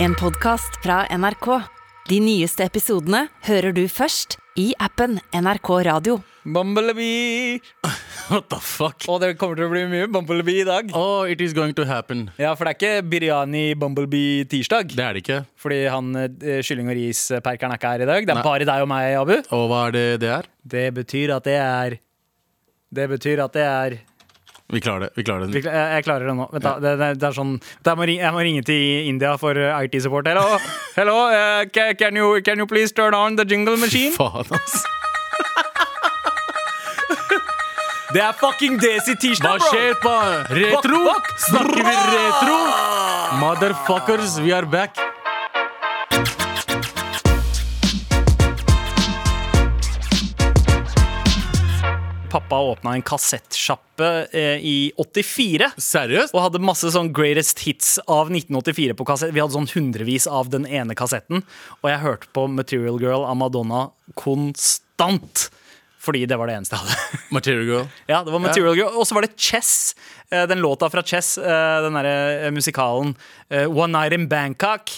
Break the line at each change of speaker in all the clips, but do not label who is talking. En podcast fra NRK. De nyeste episodene hører du først i appen NRK Radio.
Bumblebee!
What the fuck?
Og det kommer til å bli mye Bumblebee i dag.
Oh, it is going to happen.
Ja, for det er ikke biryani Bumblebee tirsdag.
Det er det ikke.
Fordi han eh, kylling- og risperkeren er ikke her i dag. Det er
Nei.
bare deg og meg, Abu.
Og hva er det det er?
Det betyr at det er Det betyr at det er
Vi klarer det. vi klarer
Jeg
det
jeg klarer det nå. Vent, da. Det, det, det er sånn det er, må ringe- Jeg må ringe til India for IT-support. Hello, hello eh, ca- can, you, can you please turn on the jingle machine?
Faen, ass.
Det er fucking Desi
Hva
tirsdag,
skjer på retro?
Fuck, fuck.
Snakker vi retro? Motherfuckers, we are back.
Pappa åpna en kassettsjappe eh, i 84.
Seriøst?
Og hadde masse sånn greatest hits av 1984 på kassett. Vi hadde sånn hundrevis av den ene kassetten. Og jeg hørte på Material Girl av Madonna konstant. Fordi det var det eneste jeg hadde.
Material Girl.
Ja, det var Material Girl Og så var det Chess. Eh, Den låta fra Chess, eh, den derre eh, musikalen eh, One Night in Bangkok.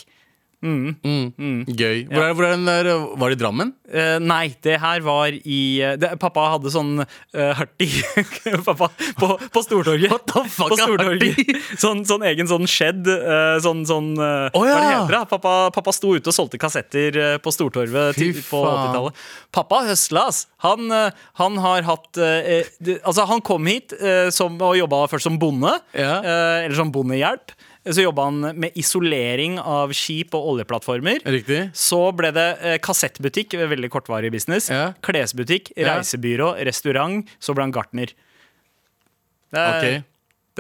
Mm. Gøy. Hvor er, hvor er den der? øh, Var det i Drammen?
Eh, nei, det her var i eh, det, Pappa hadde sånn uh, hartig Pappa, på, på Stortorget.
What the fuck
på
er
Stortorget. Sånn, sånn egen sånn shed. eh, sånn sånn eh,
Å,
Hva er det
ja.
heter det? Pappa, pappa sto ute og solgte kassetter eh, på Stortorvet
Fy
til, på
faen.
80-tallet. Pappa høsla, ass. Han, eh, han har hatt eh, eh, det- Altså, han kom hit eh, som, og jobba først som bonde.
Ja.
eh, eller som bondehjelp. Så jobba han med isolering av skip og oljeplattformer.
Riktig.
Så ble det eh, kassettbutikk, veldig kortvarig business.
Ja.
Klesbutikk,
Ja.
reisebyrå, restaurant. Så ble han gartner. Det er,
Ok.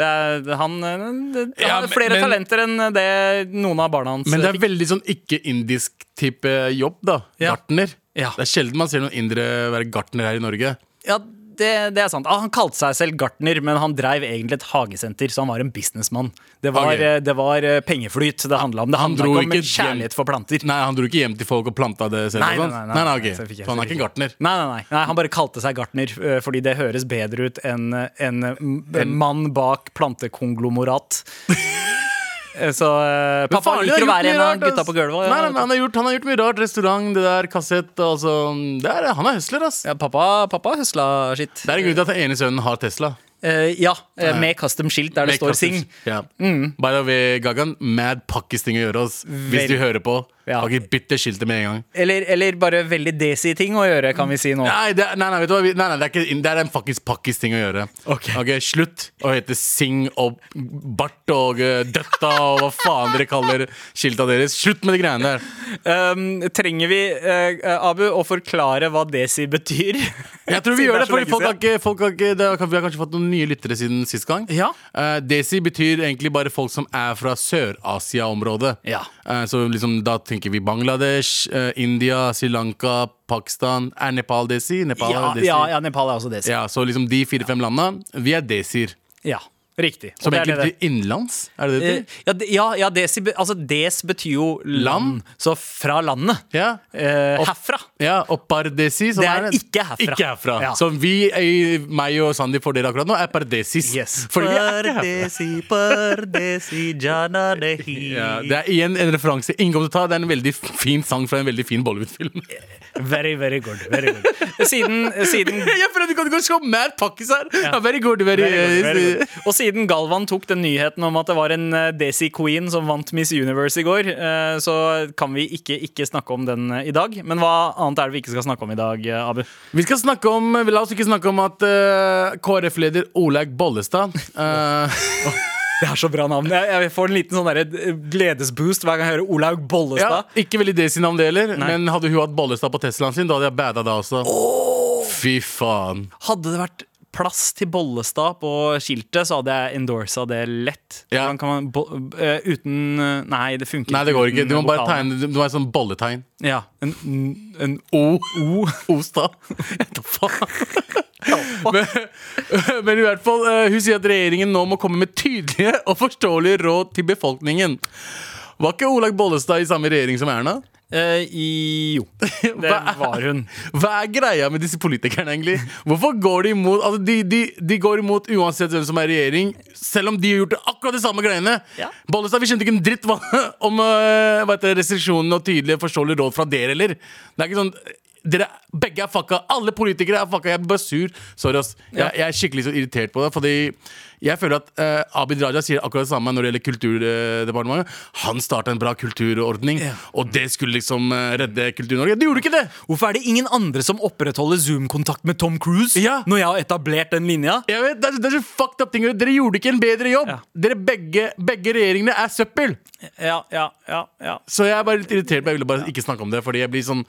det er, han eh, det, han
Ja,
har
men-
flere
men-
talenter enn eh, det noen av barna hans eh,
Men det er
fikk.
veldig sånn ikke-indisk type jobb, da.
Ja.
Gartner.
Ja.
Det er sjelden man ser noen indere være gartner her i Norge.
Ja, det, det er sant. Ah, han kalte seg selv gartner, men han dreiv egentlig et hagesenter, så han var en businessmann. Det var,
Ok.
eh, det var eh, pengeflyt det handla om. Det handla
dro
ikke om
ikke hjem-
kjærlighet for planter.
Nei, Han dro ikke hjem til folk og planta det selv?
Nei, nei,
og sånt?
nei, nei,
nei,
nei,
ok.
så fikk jeg-
Så han
så
er
fikk
ikke en gartner?
Nei, nei, nei, nei, han bare kalte seg gartner eh, fordi det høres bedre ut enn en, en mann bak plantekonglomorat. Eh, Så eh,
Men
pappa
faen,
liker å
han har
være en
gjort mye
av
rart,
gutta
ass.
på gulvet.
Nei, nei, men han, har gjort, han har gjort mye rart. Restaurant, det der, kassett altså, det er, Han er høsler, ass.
Ja, pappa, pappa høsla sitt.
Det er en grunn til at den ene sønnen har Tesla.
Eh, ja, eh, med custom-skilt der det
Med
står Sing. Mm.
kassett. Ja. By the way, Gagan, mad pakkisting å gjøre, ass. Hvis
Vel-
du hører på.
Ja.
Ja. Bytt det skiltet med en gang.
Eller, eller bare veldig desi-ting å gjøre, kan vi si nå.
Nei, det, er- nei, nei, vet du hva? Vi- Nei, nei, det, er ikke, det er en fuckings pakkisting å gjøre.
Ok.
Slutt å hete Sing og Bart og eh, Døtta og hva faen dere kaller skilta deres. Slutt med de greiene der.
Um, trenger vi, eh, eh, Abu, å forklare hva desi betyr?
Jeg tror vi
Siden det er
gjør det,
så
fordi
lenge
folk har
siden.
ikke, folk har ikke det, har- Vi har kanskje fått noen nye lyttere siden sist gang.
Ja.
Eh, Desi betyr egentlig bare folk som er fra Sør-Asia-området.
Ja.
Eh, så liksom, da tenker vi Bangladesh, eh, India, Sri Lanka, Pakistan. Er Nepal desi? Nepal
Ja,
er desi.
ja, ja, Nepal er også desi.
Ja, så liksom de fire-fem landa, vi er desier.
Ja, riktig. Og
Som
det er
egentlig
det det-
betyr innenlands, er det det
Eh,
det?
ja, de- ja, ja desi, be- altså des betyr jo land,
Land.
så fra landet.
Ja.
Eh,
Opp-
herfra.
Ja, og pardesi som
Det er ikke herfra.
Ikke herfra.
Ja.
Så vi, eh, meg og Sandy for dere akkurat nå, er pardesis. Fordi vi er ikke herfra.
Pardesi, pardesi, jana dehi.
Ja, det er igjen en referanse. Ingen kommer til å ta Det er en veldig fin sang fra en veldig fin Bollywood-film.
Very, very good. Very good. Siden, siden
Jeg føler at du kan gå så mad pakkis her! Ja. Very good, very,
Very good, very
eh,
good. Og siden Galvan tok den nyheten om at det var en eh, Desi Queen som vant Miss Universe i går, eh, så kan vi ikke ikke snakke om den eh, i dag. Men hva annet er det vi ikke skal snakke om i dag, eh, Abu?
Vi skal snakke om La oss ikke snakke om at eh, KrF-leder Olaug Bollestad eh,
Det er så bra navn. Jeg, jeg får en liten sånn der, eh, gledesboost hver gang jeg hører Olaug
ja,
Bollestad.
Ikke veldig det sin navn det heller, men hadde hun hatt Bollestad på Teslaen sin, da hadde jeg bada da også. Fy faen.
Hadde det vært plass til Bollestad på skiltet, så hadde jeg endorsa det lett.
Ja.
Hvordan Kan man, bo, eh, uten eh, Nei, det funker
Nei, det går ikke.
uten
Du må bare
vokalen.
tegne Du må ha et sånt bolletegn.
Ja, en, n- en
O. O. Ostad. men, men i hvert fall, eh, hun sier at regjeringen nå må komme med tydelige og forståelige råd til befolkningen. Var ikke Olaug Bollestad i samme regjering som Erna?
Eh, i, jo. Det
Hva?
var hun.
Hva er greia med disse politikerne, egentlig? Hvorfor går de imot altså, de, de, de går imot uansett hvem som er i regjering, selv om de har gjort akkurat de samme greiene.
Ja.
Bollestad, vi skjønte ikke en dritt hva, om øh, hva heter det, restriksjonene og tydelige forståelige råd fra dere, eller? Det er ikke sånn dere, Begge er fucka. Alle politikere er fucka. Jeg blir bare sur. Sorry, ass. Jeg, jeg er skikkelig så irritert på det. Fordi jeg føler at øh, Abid Raja sier akkurat det samme når det gjelder Kulturdepartementet. Han starta en bra kulturordning, og det skulle liksom øh, redde Kultur-Norge. Det gjorde ikke det!
Hvorfor er det ingen andre som opprettholder Zoom-kontakt med Tom Cruise?
Ja.
Når jeg har etablert den linja?
Jeg vet, det er, så- det er så fucked up ting å gjøre. Dere gjorde ikke en bedre jobb.
Ja.
Dere begge, begge regjeringene er søppel.
Ja, ja, ja, ja.
Så jeg er bare litt irritert. men Jeg ville bare ikke snakke om det. Fordi jeg blir sånn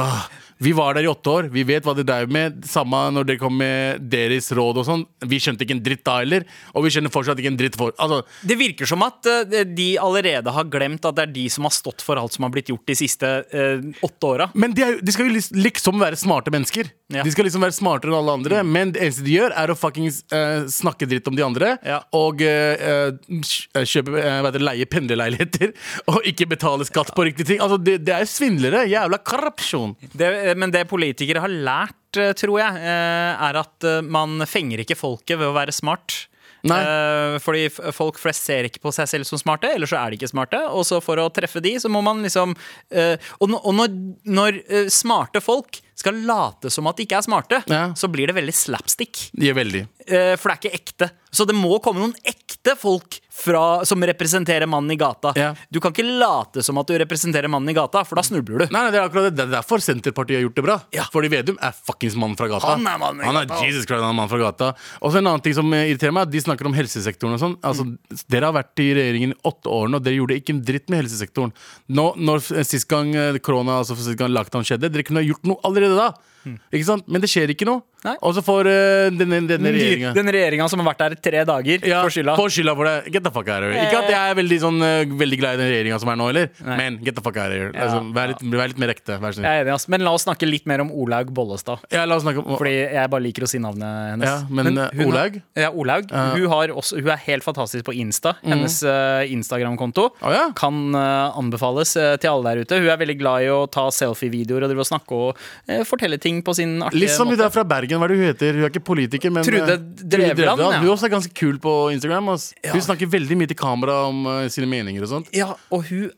ah, Vi var der i åtte år. Vi vet hva dere drev med. Samme når dere kom med deres råd og sånn. Vi skjønte ikke en dritt da heller. Og vi skjønner fortsatt ikke en dritt for Altså,
Det virker som at eh, de allerede har glemt at det er de som har stått for alt som har blitt gjort de siste eh, åtte åra.
Men de, er, jo- de skal jo lis- liksom være smarte mennesker.
Ja.
De skal liksom være smartere enn alle andre Men det eneste de gjør, er å fuckings eh, snakke dritt om de andre.
Ja.
Og eh, eh, kj- eh, kjøpe, eh, hva heter det, leie pendlerleiligheter. Og ikke betale skatt på riktige ting. Altså, Det, det er svindlere. Jævla korrupsjon.
Det, eh, men det politikere har lært, eh, tror jeg, eh, er at eh, man fenger ikke folket ved å være smart.
Nei.
Eh, Fordi f- folk flest ser ikke på seg selv som smarte, eller så er de ikke smarte. Og så for å treffe de, så må man liksom eh, Og, nå- og når, når eh, smarte folk skal late som at de ikke er smarte,
Ja.
så blir det veldig slapstick.
De gjør veldig.
Eh, For det er ikke ekte. Så det må komme noen ekte folk fra, som representerer mannen i gata.
Ja.
Du kan ikke late som at du representerer mannen i gata, for da snubler du.
Nei, nei, Det er akkurat det. Det er derfor Senterpartiet har gjort det bra.
Ja.
Fordi Vedum er fuckings mann fra gata.
Han er mann fra
Han er
gata.
Jesus Christ, han er mann fra gata. Og så en annen ting som eh, irriterer meg, er at de snakker om helsesektoren og sånn. Altså, Dere har vært i regjeringen i åtte år nå, dere gjorde ikke en dritt med helsesektoren. Nå, når eh, sist gang eh, korona, altså sist gang lockdown skjedde, dere kunne ha gjort noe allerede da. Ikke sant? Men det skjer ikke noe.
Mm. Nei.
Og så får eh, denne, denne regjeringa
Den regjeringa som har vært der i tre dager,
ja,
får skylda.
Får skylda for det. Get the fuck out of here. Ikke at jeg er veldig, sånn, eh, veldig glad i den regjeringa som er nå heller, men get the fuck out of here.
Ja.
Altså, vær, litt, vær litt mer ekte, vær så snill.
Jeg er enig, ass. Men la oss snakke litt mer om Olaug Bollestad.
Ja, la oss snakke om
Fordi jeg bare liker å si navnet hennes.
Ja, men, eh,
hun har-
Olaug?
Ja, Olaug hun, har også, hun er helt fantastisk på Insta. Hennes eh, Instagram-konto
Mm. Å, ja.
kan eh, anbefales eh, til alle der ute. Hun er veldig glad i å ta selfie-videoer og drive og snakke og eh, fortelle ting på sin artige
Litt som hun
måte.
der fra Bergen, hva er det hun heter? Hun er ikke politiker, men
Trude
eh,
Drevland, ja.
Hun er også ganske kul på Instagram. Ass. Hun snakker veldig mye til kamera om eh, sine meninger og sånt.
Ja, og hun,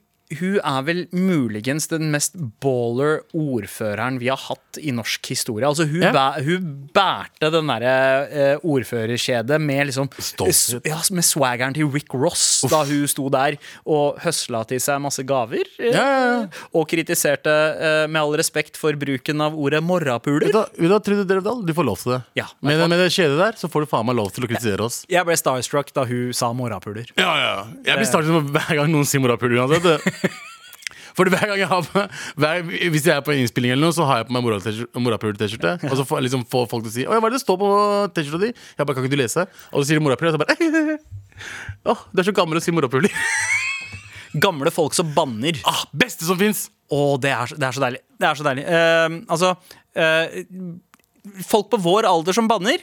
hun er vel muligens den mest baller ordføreren vi har hatt i norsk historie. Altså, hun,
Ja.
bæ, hun bærte den derre eh, ordførerkjedet med liksom
Stolthet.
Ja, med swaggeren til Rick Ross da hun sto der og høsla til seg masse gaver. eh,
Ja, ja, ja.
Og kritiserte, eh, med all respekt for bruken av ordet morrapuler.
Vet du hva- vet du hva, Trude Drevdal, du får lov til det.
Ja.
Med, det- med det kjedet der, så får du faen meg lov til å kritisere oss.
Jeg ble starstruck da hun sa morrapuler.
Ja, ja. Jeg
Eh.
blir startet med hver gang noen sier morapuler uansett. Fordi hver gang jeg har på hver, Hvis jeg er på innspilling eller noe, så har jeg på meg morapuler-T-skjorte. Og så får, liksom, får folk til å si 'Å ja, hva er det det står på T-skjorta di?' Jeg bare 'Kan ikke du lese?' Og så sier de morapuler, og så bare Åh, du er så gammel å si morapuler.
Gamle folk som banner.
Ah, beste som fins!
Å, det er, så- det er så deilig. Det er så deilig. Eh, altså eh, Folk på vår alder som banner,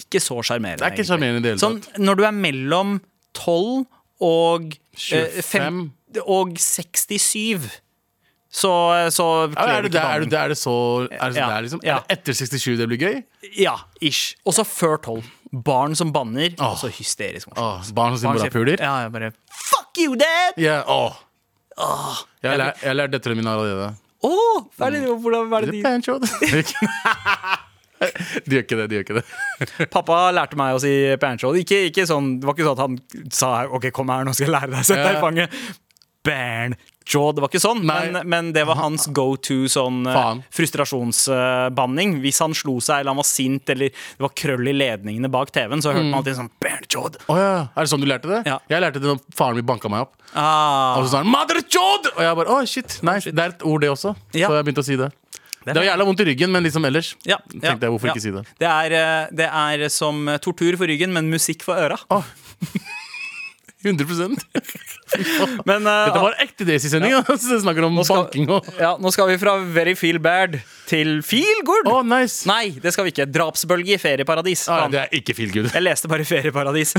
ikke så sjarmerende.
Mm. Det er ikke
egentlig.
sjarmerende i det hele
Sånn, når du er mellom 12 og eh,
25.
fem- og 67, så, eh, så
Ja,
kler
er,
du ikke
det, der- er,
banen.
det, er det så Er det, så
Ja,
der, liksom?
ja.
er det etter 67 det blir gøy?
Ja, ish. Og så før 12. Barn som banner.
Åh.
Så hysterisk. morsomt.
Åh, barn som sier
Barn sier-
morapuler?
Ja, jeg bare Fuck you, dad!
Ja, åh. Jeg har lært- jeg har lært døtrene mine allerede.
Å, hva er det, hvordan, hva er det de
Pancho. De gjør ikke det, de gjør ikke det.
Pappa lærte meg å si banjo. Ikke, ikke sånn, det var ikke sånn at han sa OK, kom her, nå skal jeg lære deg å sette deg i
Ja.
fanget. Banjo. Det var ikke sånn,
Nei.
men, men det var hans go to sånn
Faen.
frustrasjonsbanning. Hvis han slo seg eller han var sint eller det var krøll i ledningene bak TV-en, så
Mm.
hørte man alltid sånn banjo.
Å ja. Er det sånn du lærte det?
Ja.
Jeg lærte det når faren min banka meg opp.
Ah,
Og så sa han 'mother chod!' Og jeg bare 'å, shit'. Nei, det er et ord, det også.
Ja.
Så jeg begynte å si det.
er
Det var jævla vondt i ryggen, men liksom ellers
ja, ja,
tenkte jeg hvorfor
ja.
ikke si det.
Det er, eh, det er som tortur for ryggen, men musikk for øra.
Ah. 100
Men, eh,
Dette var ekte Daisy-sending. Ja. altså. snakker om
skal-
banking og Å,
ja, nå skal vi fra very feel bad til feel good.
nice!
Nei, det skal vi ikke. Drapsbølge i ferieparadis.
Ah,
Faen.
det er ikke feel good.
Jeg leste bare ferieparadis.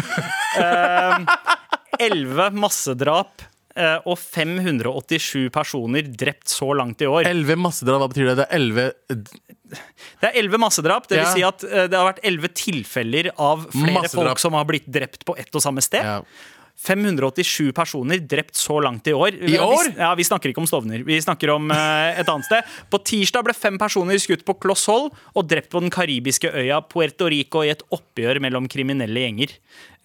Elleve Ehm, massedrap eh, og 587 personer drept så langt i år.
Elleve massedrap, hva betyr det? Det er elleve
Det er elleve massedrap. Det vil
Ja.
si at eh, det har vært elleve tilfeller av flere
Massedrap.
folk som har blitt drept på ett og samme sted.
ja.
587 personer drept så langt i år.
I år?
Vi, ja, vi snakker ikke om Stovner. Vi snakker om eh, et annet sted. På tirsdag ble fem personer skutt på kloss hold og drept på den karibiske øya Puerto Rico i et oppgjør mellom kriminelle gjenger.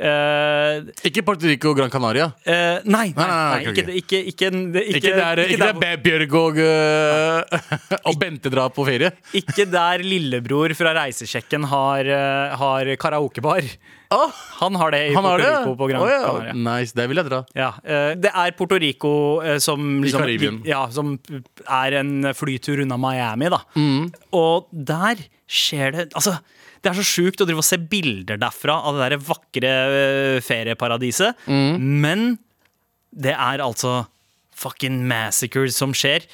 Eh,
Ikke Puerto Rico og Gran Canaria.
eh, nei, nei, nei,
nei, ok,
ikke,
ok.
ikke, ikke, ikke,
Ikke der, ikke der Bæ- Bjørg og, øh, og Bente drar på ferie.
Ikke der lillebror fra Reisesjekken har, eh, har karaokebar. Han har det i
Han
Puerto
har det?
Rico på Gran
Å, ja.
Canaria.
Nice, der vil jeg dra.
Ja, eh, det er Puerto Rico eh, som, liksom,
Karibien.
Ja, som er en flytur unna Miami, da. Og der skjer det Altså, det er så sjukt å drive og se bilder derfra av det der vakre eh, ferieparadiset, men det er altså fucking massacres som skjer.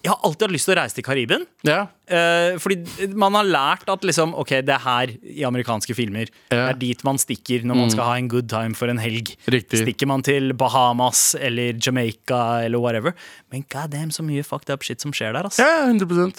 Jeg har alltid hatt lyst til å reise til Karibien.
Ja.
Eh, fordi man har lært at liksom, ok, det er her i amerikanske filmer. Det
Ja. Mm.
er dit man stikker når man skal ha en good time for en helg.
Riktig.
Stikker man til Bahamas eller Jamaica eller whatever. Men god damn, så mye fucked up shit som skjer der. ass
ja, 100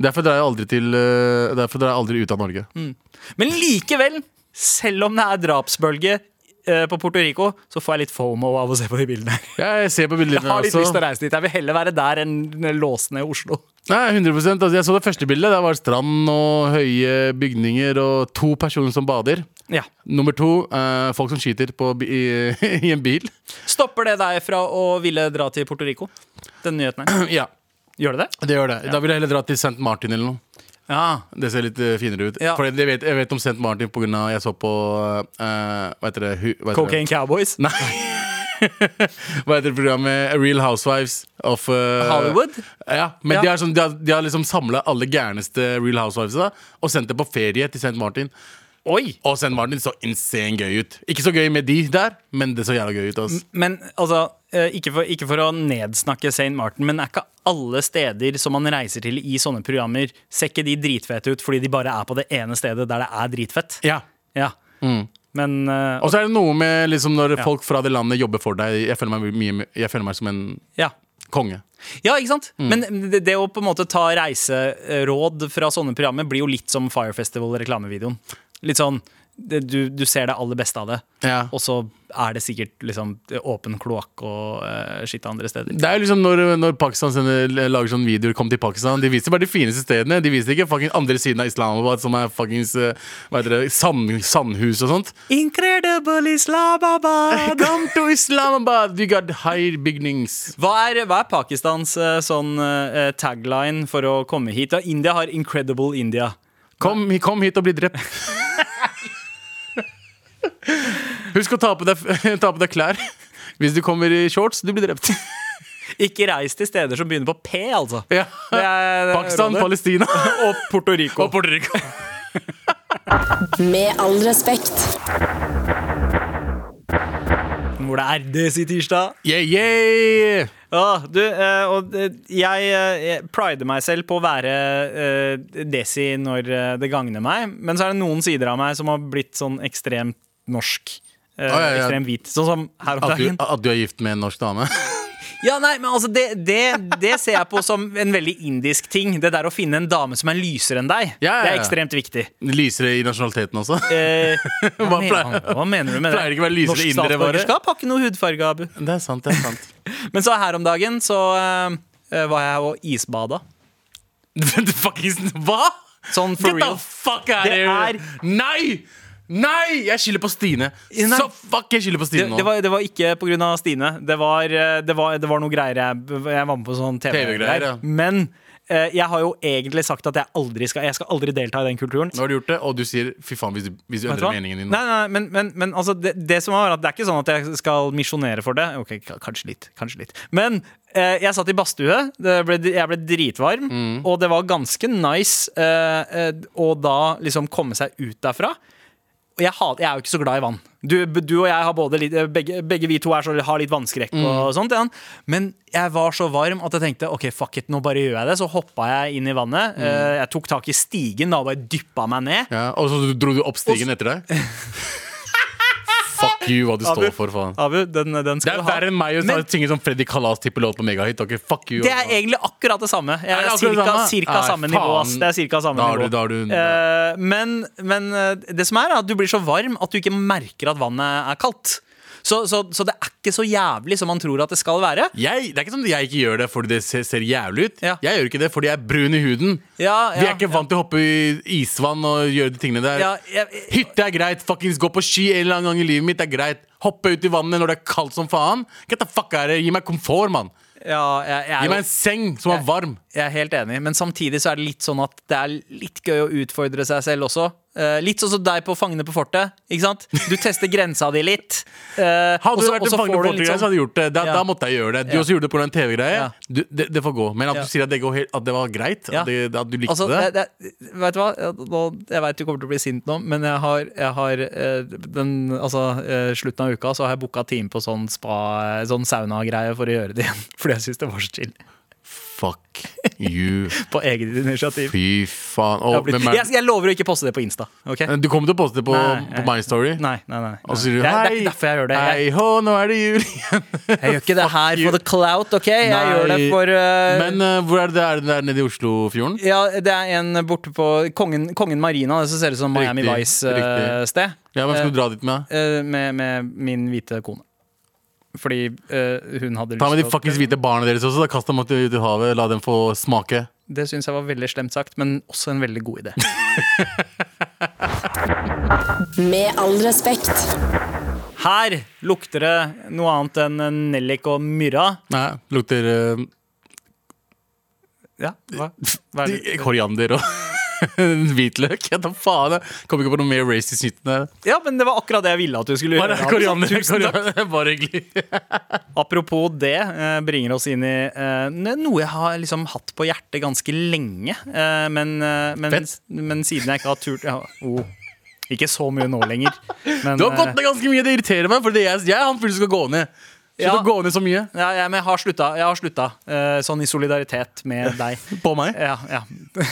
Derfor drar jeg aldri, til, øh, derfor drar jeg aldri ut av Norge.
Mm. Men likevel, selv om det er drapsbølge eh, på Puerto Rico, så får jeg litt fomo av å se på de bildene. her.
Jeg ser på bildene
Jeg har litt
også.
lyst til å reise dit. Jeg vil heller være der enn låsene i Oslo.
Nei, 100 altså, Jeg så det første bildet. Der var strand og høye bygninger og to personer som bader.
Ja.
Nummer to eh, folk som skyter på, bi- i, i en bil.
Stopper det deg fra å ville dra til Puerto Rico? Den nyheten her.
ja,
Gjør det det?
det gjør det. Da vil jeg heller dra til St. Martin eller noe.
Ja,
Det ser litt eh, finere ut.
Ja.
For jeg vet, jeg vet om St. Martin pga. jeg så på eh, Hva heter det? Hu, hva heter
Cocaine Cowboys?
Det? Nei. hva heter det programmet? Real Housewives of eh,
Hollywood?
Ja, men
Ja.
De, har sånn, de, har, de har liksom samla alle gærneste Real Housewives da, og sendt det på ferie til St. Martin.
Oi!
Og St. Martin så insane gøy ut. Ikke så gøy med de der, men det så jævla gøy ut. ass.
Men altså, eh, ikke for, ikke for å nedsnakke St. Martin, men er ikke alle steder som man reiser til i sånne programmer, ser ikke de dritfete ut fordi de bare er på det ene stedet der det er dritfett?
Ja. Mm.
Ja. Men eh,
Og så er det noe med liksom når folk fra det landet jobber for deg. Jeg føler meg, mye, jeg føler meg som en
ja.
konge.
ja, ikke sant?
Mm.
Men mm, det, det å på en måte ta reiseråd fra sånne programmer blir jo litt som Fire Festival-reklamevideoen. Litt sånn det, du, du ser det aller beste av det,
Ja.
og så er det sikkert liksom åpen kloakk og uh, skitt andre steder.
Det er jo liksom når, når Pakistan sender, lager sånne videoer Kom til Pakistan De viser bare de fineste stedene De viser ikke fucking andre siden av Islamabad Som er fucking eh, hva heter det, sand, sandhus og sånt
Incredible Islamabad!
Come to Islamabad We got high beginnings
Hva er, hva er Pakistans eh, sånn eh, tagline for å komme hit? Da? India har 'Incredible India'.
Kom, kom hit og bli drept Husk å ta på, deg, ta på deg klær Hvis du kommer i shorts, du blir drept
Ikke reis til steder som begynner på P, altså.
ja.
Det er- det er
Pakistan,
rådet.
Palestina
Og Puerto Rico.
Og Puerto Rico
Med all respekt.
Hvor det er det sier tirsdag.
Yeah, yeah
Ja, du, eh, og eh, jeg, eh, jeg prider meg selv på å være eh, desi når eh, det gagner meg, men så er det noen sider av meg som har blitt sånn ekstremt norsk. Eh,
ja, ja.
Ekstremt hvit. Sånn som her om
at du,
dagen.
at du er gift med en norsk dame
Ja, nei, men altså det, det, det ser jeg på som en veldig indisk ting. Det der å finne en dame som er lysere enn deg,
Ja, ja,
det
ja.
er ekstremt viktig.
Lysere i nasjonaliteten også
Eh, hva, mener,
pleier-
hva mener du med det?
pleier ikke å være lysere
Norsk
indere, bare?
statsborgerskap har ikke noe hudfarge, Abu.
Det er sant, det er sant.
Men så her om dagen så eh, var jeg og isbada.
hva?!
Sånn for
Get
real.
the fuck out of
Det
here!
er-
Nei! Nei! Jeg skylder på Stine.
Nei.
Så fuck, jeg skylder på
Det,
Stine nå.
det, var, det var ikke pga. Stine. Det var, eh, det, var, det var noe greier jeg, jeg var med på sånn TV-greier.
TV-greier, ja.
Men eh, jeg har jo egentlig sagt at jeg aldri skal, jeg skal aldri delta i den kulturen.
Nå har du gjort det, og du sier fy faen hvis du, hvis du
Vet du
endrer
hva?
meningen din.
Nei, nei, nei, men, men, men altså, det, det som var at det er ikke sånn at jeg skal misjonere for det. Ok, k- kanskje litt, kanskje litt. Men eh, jeg satt i badstue, det ble, jeg ble dritvarm,
Mm.
og det var ganske nice eh, eh, å da liksom komme seg ut derfra. Og jeg, hat- jeg er jo ikke så glad i vann. Du, du og jeg har både litt, eh, begge, begge vi to er så, har litt vannskrekk
Mm.
og sånt. igjen. Men jeg var så varm at jeg tenkte ok, fuck it, nå bare gjør jeg det. Så hoppa jeg inn i vannet.
Mm.
Eh, jeg tok tak i stigen da, og bare dyppa meg ned.
Ja, og så dro du opp stigen etter deg? fuck Fuck you, hva du står for, faen.
Abu, den, den
Det
skal
er
du ha.
verre enn meg å
Men-
synge som Freddy Kalas-type låt på megahit. ok, fuck you.
Det er
altså.
egentlig akkurat det samme. Jeg
Er det
er
akkurat
cirka,
det samme?
cirka
Nei,
samme nivå. Ass.
faen.
Det er cirka samme
Da har
nivå.
du- da har du-
Eh, men men eh, det som er, er at du blir så varm at du ikke merker at vannet er kaldt. Så, så, så det er ikke så jævlig som man tror at det skal være.
jeg, det er ikke sånn at jeg ikke gjør det fordi det ser, ser jævlig ut.
Ja.
Jeg gjør ikke det fordi jeg er brun i huden.
Ja,
Vi
ja,
er ikke vant til å hoppe i isvann og gjøre de tingene der.
Ja, jeg-
Hytte er greit. Fuckings gå på ski en eller annen gang i livet mitt er greit. Hoppe ut i vannet når det er kaldt som faen. Get the fuck out of here. Gi meg komfort, mann.
Ja, jeg, jeg,
Gi
er jo,
meg en seng som er varm.
jeg er helt enig, men samtidig så er det litt sånn at det er litt gøy å utfordre seg selv også. Eh, litt sånn som deg på Fangene på fortet. Ikke sant? Du tester grensa di litt. Eh, og
Hadde
så-
du vært
og
en
så
fange
får
på
du litt
Portugal,
sånn-
så hadde du gjort det. Da,
Ja.
da måtte jeg gjøre det. Du
Ja.
også gjorde det pga. en TV-greie.
Ja.
Du- Det, det får gå. Men at
Ja.
du sier at det, går helt, at det var greit,
Ja.
at, det, at du likte
Altså,
det
det, det, vet du hva? Jeg, nå, jeg vet du kommer til å bli sint nå, men jeg har, jeg har eh, den, altså, eh, slutten av uka så har jeg booka time på sånn, spa- sånn saunagreie for å gjøre det igjen. Fordi jeg syns det var så chill.
Fuck you.
På eget initiativ.
Fy faen. Å,
Jeg, har blitt,
hvem er-
jeg, jeg lover å ikke poste det på Insta. ok?
Du kommer til å poste det på,
Nei,
på
nei.
My Story?
Nei, nei, nei.
Og så sier du
Jeg-
hei,
det er ikke derfor jeg gjør det. Jeg,
Hei, hå, nå er det jul igjen.
jeg gjør ikke det her
you.
for the clout, OK? Jeg gjør det
Nei,
for eh,
Men eh, hvor er det det er det der nede i Oslofjorden?
ja, Det er en borte på Kongen, Kongen Marina, det som ser ut som Miami eh,
Riktig, riktig.
Vice-sted.
Ja, Hvem skal du dra dit med?
Eh, med, med min hvite kone. Fordi eh, hun hadde
Ta med de
til å-
fuckings hvite barna deres også. Da Kast dem ut i ut i havet. La dem få smake.
Det syns jeg var veldig slemt sagt, men også en veldig god idé.
Med all respekt.
Her lukter det noe annet enn nellik og myrra.
Nei, lukter eh,
Ja, hva? hva er det?
koriander og hvitløk. Ja, da faen. Jeg kom ikke på noe mer racist nytt enn det.
ja, men det var akkurat det jeg ville at du skulle
Bare
gjøre.
koriander.
Tusen takk.
koriander. Bare hyggelig.
Apropos det, eh, bringer oss inn i eh, noe jeg har liksom hatt på hjertet ganske lenge. eh, Men, eh, men,
Fett.
men siden jeg ikke har turt ja, oh, Ikke så mye nå lenger. Men,
Du har
eh,
gått ned ganske mye. Det irriterer meg, for det er- jeg er han fyren som skal gå ned. Skal
Ja.
du gå ned så mye?
Ja, ja, men jeg har slutta. Jeg har slutta eh, sånn i solidaritet med deg.
På meg?
Ja, ja.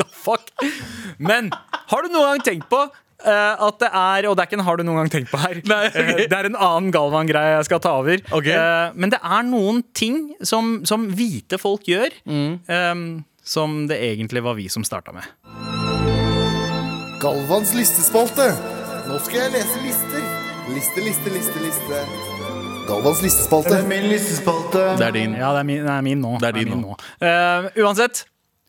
The fuck? Men har du noen gang tenkt på eh, at det er Og det er ikke en 'har du noen gang tenkt på' her.
Nei, ok.
Eh, det er en annen Galvan-greie jeg skal ta over.
Ok.
Eh, men det er noen ting som, som hvite folk gjør,
Mm.
eh, som det egentlig var vi som starta med.
Galvans listespalte. Nå skal jeg lese lister. Liste, liste, liste, liste. Galvans listespalte. min listespalte.
Det er din.
Ja, det er min, det er min nå.
Det er din
min Eh, uansett,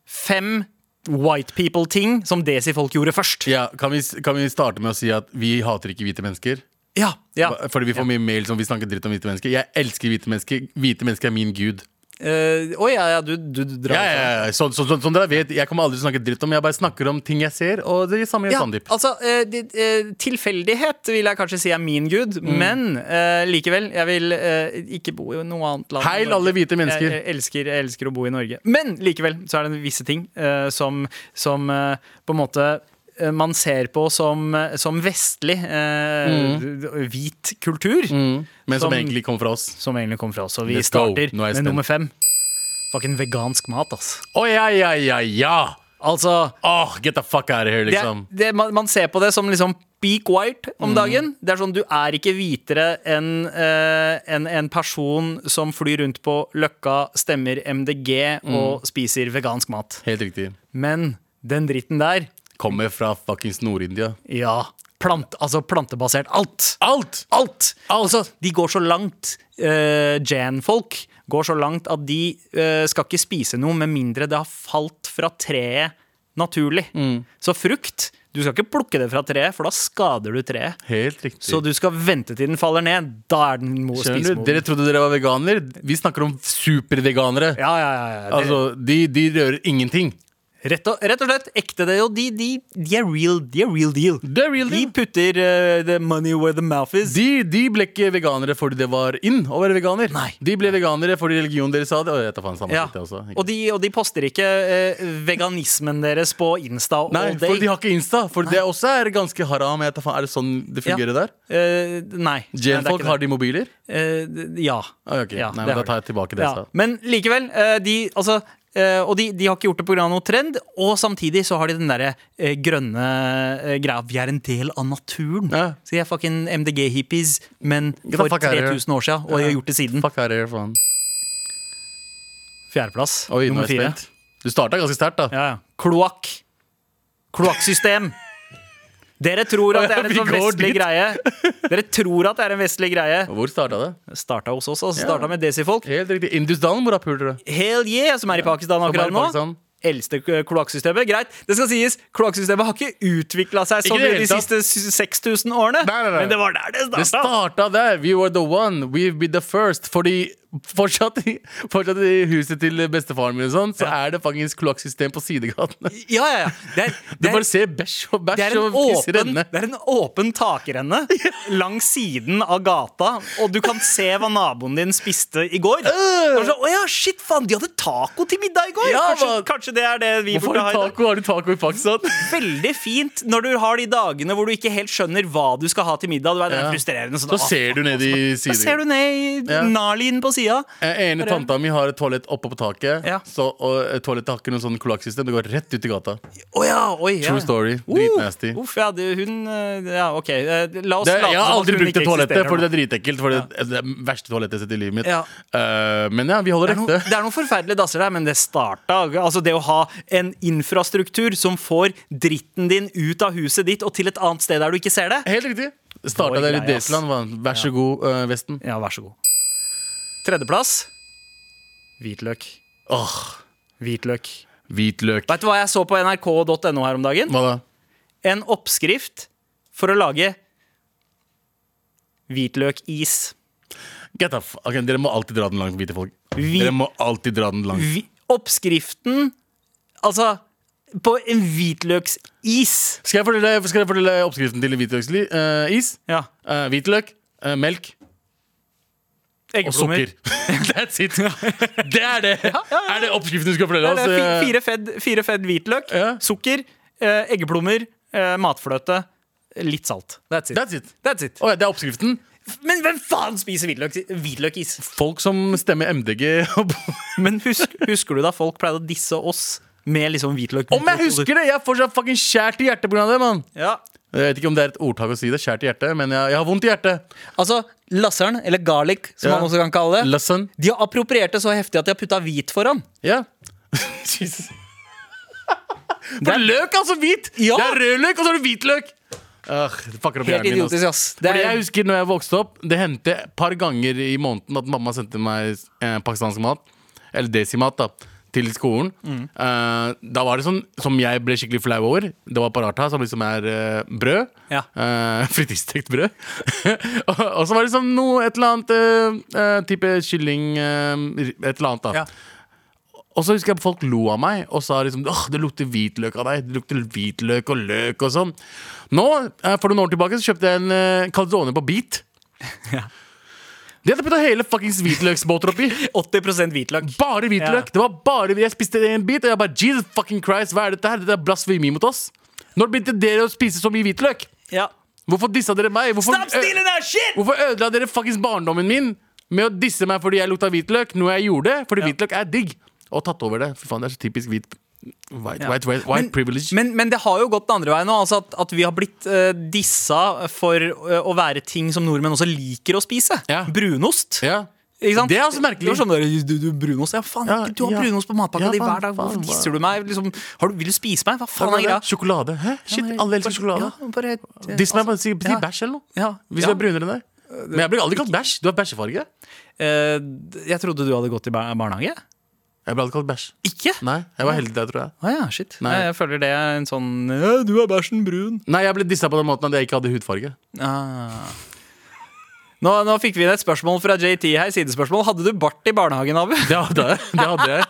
fem white people-ting som desi-folk gjorde først.
Ja, kan vi, kan vi starte med å si at vi hater ikke hvite mennesker?
Ja, ja.
Fordi vi får mye mail som vi snakker dritt om hvite mennesker. Jeg elsker hvite mennesker. Hvite mennesker er min gud.
Eh, Oi, ja, ja, du, du, du drar
Ja, ja, ja. Så, så, så, som dere vet, Jeg kommer aldri til å snakke dritt om Jeg bare snakker om ting jeg ser. Og det er det samme gjør
Ja,
Sandeep.
altså, eh, det- eh, tilfeldighet vil jeg kanskje si er min gud,
Mm.
men eh, likevel, jeg vil eh, ikke bo i noe annet land. enn
Heil
Norge.
alle hvite
Jeg,
mennesker.
jeg, elsker, jeg elsker å bo i Norge. Men likevel så er det visse ting eh, som, som eh, på en måte eh, man ser på som, som vestlig, eh,
Mm.
hvit kultur,
Men som,
som-
egentlig kommer fra oss.
som egentlig kommer fra oss. Og vi
Mm. Let's go.
starter
Nå er
med
jeg spent.
nummer fem. Fucking vegansk mat, ass.
Å ja, ja, ja, ja!
Altså,
Åh, get the fuck out of here,
det,
liksom.
det, man, man ser på det som liksom peak white om dagen. Det er sånn, Du er ikke hvitere enn eh, enn en person som flyr rundt på Løkka, stemmer MDG og spiser vegansk mat.
Helt riktig.
Men den dritten der,
Kommer fra fuckings Nord-India.
ja. Plant, altså plantebasert. Alt!
Alt!
Alt! Altså, de går så langt, eh, Jan-folk går så langt at de eh, skal ikke spise noe med mindre det har falt fra treet naturlig.
Mm.
Så frukt Du skal ikke plukke det fra treet, for da skader du treet.
Helt riktig.
Så du skal vente til den faller ned. Da er den mo-
Skjønner du?
spisemoden.
Dere trodde dere var veganer. Vi snakker om superveganere.
Ja, ja, ja. ja. Det,
Altså, de, de rører ingenting.
rett, og, rett og slett ekte det. Og de, de, de, er real, de er real deal.
Det er real
De putter eh, the money where the mouth is.
De, de ble ikke veganere fordi det var inn å være veganer.
Nei.
De ble veganere fordi religionen deres sa det. Og jeg tar faen samme
Ja.
shit, altså. jeg også. Ikke-
Og de, og de poster ikke eh, veganismen deres på Insta all
Nei,
day.
for de har ikke Insta. For det også er ganske haram. Jeg tar faen, er det sånn det
Ja.
fungerer der?
Eh, nei.
Gen-folk har de mobiler?
uh, Ja.
Ah, ok.
Ja,
Nei,
det
men
har
da tar jeg tilbake det jeg
ja.
sa.
Men likevel, eh, de Altså, Eh, og de, de har ikke gjort det pga. noe trend. Og samtidig så har de den derre eh, grønne eh, greia Vi er en del av naturen.
Ja.
Så de er fucking MDG-hippies, men
the
for
fuck out of here.
3000 år siden. Og de har gjort det siden.
Fuck out of here, faen.
Fjerdeplass.
Oi, nå
nummer
er jeg
fire.
spent. Du starta ganske sterkt, da.
Ja, ja. Kloakk. Kloakksystem. Dere tror at det er en
Vi
sånn
går
vestlig
dit.
greie. Dere tror at det er en vestlig greie.
Hvor starta det?
Starta hos oss, altså. Starta med Desifolk.
Helt riktig. Indusdalen, hvor er pulere?
Hell yeah, som er i Pakistan
er i
akkurat nå.
Pakistan.
Eldste k- kloakksystemet. Greit, det skal sies, kloakksystemet har ikke utvikla seg sånn
Ikke i
de
det hele tatt.
siste s- 6000 årene.
Nei, nei, nei.
Men det var der det
Det
starta.
starta der. We were the one. We've been the first. Fordi fortsatt i, fortsatt i huset til bestefaren min og sånn, så er det faktisk kloakksystem på sidegatene.
Ja, ja, ja. Det er,
Du
det er,
bare ser bæsj og
det er,
bæsj
en
og piss
åpen,
renne.
det er en åpen takrenne langs siden av gata, og du kan se hva naboen din spiste i går. Det var sånn, Å ja, shit, faen, de hadde taco til middag i går!
Øh! Ja,
kanskje,
man.
kanskje det er det vi
Hvorfor
burde ha
har
i
du
dag.
taco? Har du taco i Pakistan?
Veldig fint når du har de dagene hvor du ikke helt skjønner hva du skal ha til middag. Du er, det er
Ja.
frustrerende sånn, «Å,
Så ser du ned i
Da ser
siden.
du ned i
Ja.
Narlien på sida.
Eh, Ene tanta mi har et toalett oppe på taket.
Ja.
Så, og eh, toalettet har ikke noe sånn kloakksystem. Det går rett ut i gata.
Å ja, oi, ja.
True story. Dritnasty.
Uh, Uff, ja, det, hun eh, Ja, OK. eh, La oss
Det,
late
jeg har
som at
aldri
hun
brukt det
ikke
toalettet,
eksisterer
for
nå.
det er dritekkelt. For det er det verste toalettet jeg har sett i livet mitt.
Ja.
Eh, men ja, vi holder
Det er, noen,
ekte.
det er noen forferdelige dasser der, men det starta Altså det å ha en infrastruktur som får dritten din ut av huset ditt og til et annet sted der du ikke ser det.
Helt riktig.
Vår
Starta der i
greie, ass.
Desland. hva? Vær så god, eh, Vesten.
Ja, vær så god. Tredjeplass hvitløk.
Åh,
Hvitløk.
Hvitløk.
Vet du hva jeg så på nrk.no her om dagen?
Hva da?
En oppskrift for å lage hvitløkis.
Get off. Ok, dere må alltid dra den langt, hvite folk.
Vi-
Dere må alltid dra den langt.
Vi, oppskriften Altså, på en hvitløksis.
Skal jeg fortelle, skal jeg fortelle oppskriften til hvitløksis? is?
Ja.
Eh, hvitløk, eh, melk og
Eggeplommer.
sukker. That's it. Det er det. Er det oppskriften du skal fortelle
Det er
oss?
det. Fi-
Eh,
Fire fedd, fire fedd hvitløk,
Ja.
sukker, eh, eggeplommer, eh, matfløte, litt salt. That's it.
That's it.
That's it.
Å ja, det er oppskriften?
Men hvem faen spiser hvitløk, hvitløkis?
Folk som stemmer MDG.
Men husk, husker du da folk pleide å disse oss med liksom hvitløk?
Om jeg husker det! Jeg er fortsatt fucking skjært i hjertet pga. det, mann.
Ja.
Jeg vet ikke om det er et ordtak å si det, skjært i hjertet, men jeg, jeg har vondt i hjertet.
Altså, lasseren, eller garlic, som
Ja.
man også kan kalle det,
Lesson.
de har appropriert det så heftig at de har putta hvit foran.
Ja. For løk, altså! Hvit!
Ja.
Det er rødløk, og så er det hvitløk! Ah, det fucker opp
Helt
hjernen min.
idiotisk,
Altså.
ass. Det
Fordi
er-
jeg husker når jeg vokste opp, det hendte et par ganger i måneden at mamma sendte meg eh, pakistansk mat, eller desimat, da, til skolen.
Mm.
Eh, da var det sånn som jeg ble skikkelig flau over. Det var paratha, som liksom er eh, brød.
Ja.
Eh, Fritidsstekt brød. og, og så var det liksom noe, et eller annet eh, eh, type kylling eh, Et eller annet, da.
Ja.
Og så husker jeg folk lo av meg og sa liksom Åh, det lukter hvitløk av deg. Det lukter hvitløk og løk og sånn. Nå, eh, for noen år tilbake, så kjøpte jeg en eh, calzone på Beat. De hadde putta hele fuckings hvitløksbåter oppi.
80 hvitløk.
Bare
Ja.
hvitløk. Det var bare Jeg spiste en bit, og jeg bare Jesus fucking Christ, hva er dette her? Dette er blasfemi mot oss. Når begynte dere å spise så mye hvitløk?
Ja.
Hvorfor dissa dere meg? Hvorfor, Eh,
Stop stealing that shit!
Hvorfor ødela dere fuckings barndommen min med å disse meg fordi jeg lukta hvitløk? Noe jeg gjorde, fordi hvitløk er digg. Og tatt over det. Fy faen, det er så typisk hvit White, white, white, white privilege.
Men, men det har jo gått den andre veien nå. Altså at, at vi har blitt eh, dissa for eh, å være ting som nordmenn også liker å spise.
Ja.
Brunost.
ja.
Ikke sant?
Det er også merkelig.
Det var sånn der, du, du, brunost, ja faen,
Ja,
du har
ja.
brunost på matpakka
Ja,
di
faen,
hver dag. Hvorfor
faen,
disser du meg? Liksom, har du, vil du spise meg? Hva faen er greia?
Sjokolade. Hæ? Shit, alle elsker sjokolade.
Ja, bare, eh,
Diss meg, bare si, si
Ja.
bæsj eller noe.
Ja,
Hvis
ja.
du er brunere enn deg. Men jeg blir aldri kalt bæsj. Du har bæsjefarge.
eh, jeg trodde du hadde gått i bar- barnehage.
Jeg ble aldri kalt bæsj.
Ikke?
Nei, jeg var heldig der, tror jeg.
Å ja, shit.
Nei.
Jeg føler det er en sånn ja, Du er bæsjen brun.
Nei, jeg ble dissa på den måten at jeg ikke hadde hudfarge.
Ah. Nå, nå fikk vi inn et spørsmål fra JT her. Sidespørsmål. Hadde du bart i barnehagen, Abu?
Det hadde jeg. Det hadde jeg.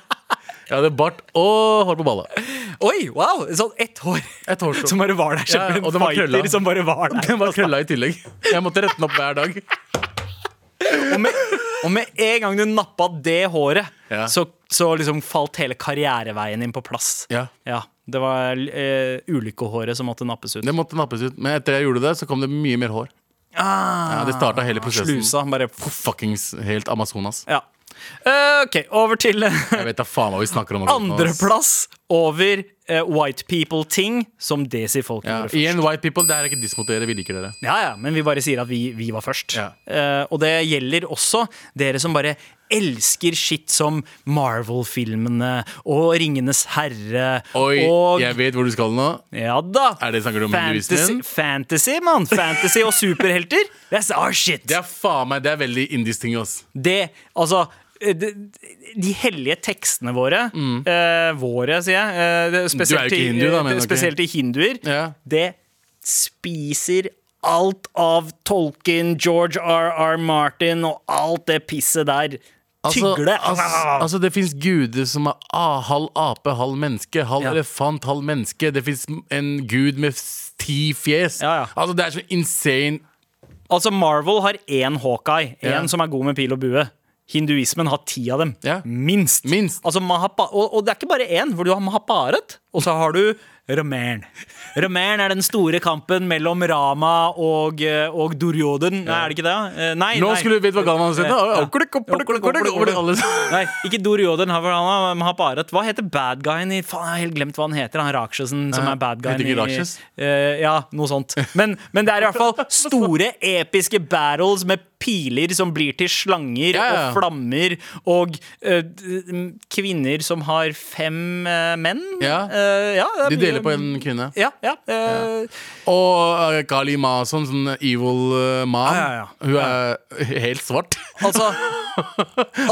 jeg hadde bart og hår på balla.
Oi, wow! Sånn ett hår
Et hårstrå.
som bare var der.
Ja,
Som
og
en
den var
fighter
krølla.
som bare var der.
Den var krølla i tillegg. Jeg måtte rette den opp hver dag.
Og med, og med en gang du nappa det håret,
Ja.
så, så liksom falt hele karriereveien din på plass.
Ja.
Det var eh, ulykkehåret som måtte nappes ut.
Det måtte nappes ut. Men etter jeg gjorde det, så kom det mye mer hår.
ah,
Ja, det starta hele prosessen.
Slusa. Bare
Fuckings helt Amazonas.
Ja. Eh, OK, over til eh,
Jeg vet da faen hva vi snakker om. akkurat nå, ass.
andreplass over eh, white people-ting som Desi-folk
Ja,
gjorde først.
igjen, white people, det her er ikke diss mot dere. Vi liker dere.
Ja, ja, men vi bare sier at vi, vi var først.
Ja.
Eh, og det gjelder også dere som bare elsker shit som Marvel-filmene og Ringenes herre
Oi,
og
jeg vet hvor du skal nå.
Ja da!
Er det snakker du om
fantasy,
undervisningen?
fantasy, mann! Fantasy og superhelter. That's our shit!
Det er faen meg, det er veldig indisk ting, ass.
Det, altså eh, de, de hellige tekstene våre eh, Våre, sier jeg. eh, det-
Mm. Du er jo
spesielt,
ikke
i-
hindu, da,
eh,
mener
det-
du ikke?
spesielt i hinduer.
Ja.
Det spiser alt av Tolkien, George R.R. Martin og alt det pisset der.
Altså,
Tygle.
ass- altså det fins guder som er ah, halv ape, halv menneske. Halv
Ja.
elefant, halv menneske. Det fins en gud med s- ti fjes.
Ja, ja.
Altså Det er så insane.
altså, Marvel har én Hawkeye, én
Ja.
som er god med pil og bue. Hinduismen har ti av dem.
Ja.
Minst.
Minst.
Altså, Mahapa, og, og det er ikke bare én, for du har Mahaparet, og så har du Raman. Raman er den store kampen mellom Rama og, eh, og Duryoden. Nei, er det ikke det? Eh, Nei,
Nå
nei.
skulle du vite hva Galvan sa!
Ja.
Alle sammen.
Nei, ikke Duryoden. han- Han har Mahaparet. Hva heter bad guyen i Faen, jeg har helt glemt hva han heter. Han rakshesen som
Ja,
er bad guyen
heter ikke
i
Rakshas?
Eh, Ja, noe sånt. Men, men det er i hvert fall store, episke battles med piler som blir til slanger
Ja, ja.
og flammer, og eh, d- m- kvinner som har fem eh, menn.
Ja.
Eh, ja, det er
De
mye-
deler på en kvinne.
Ja. ja, eh,
Og uh, Kali Mason, sånn evil uh, man.
Ja, ja, ja.
Hun er helt svart.
Altså,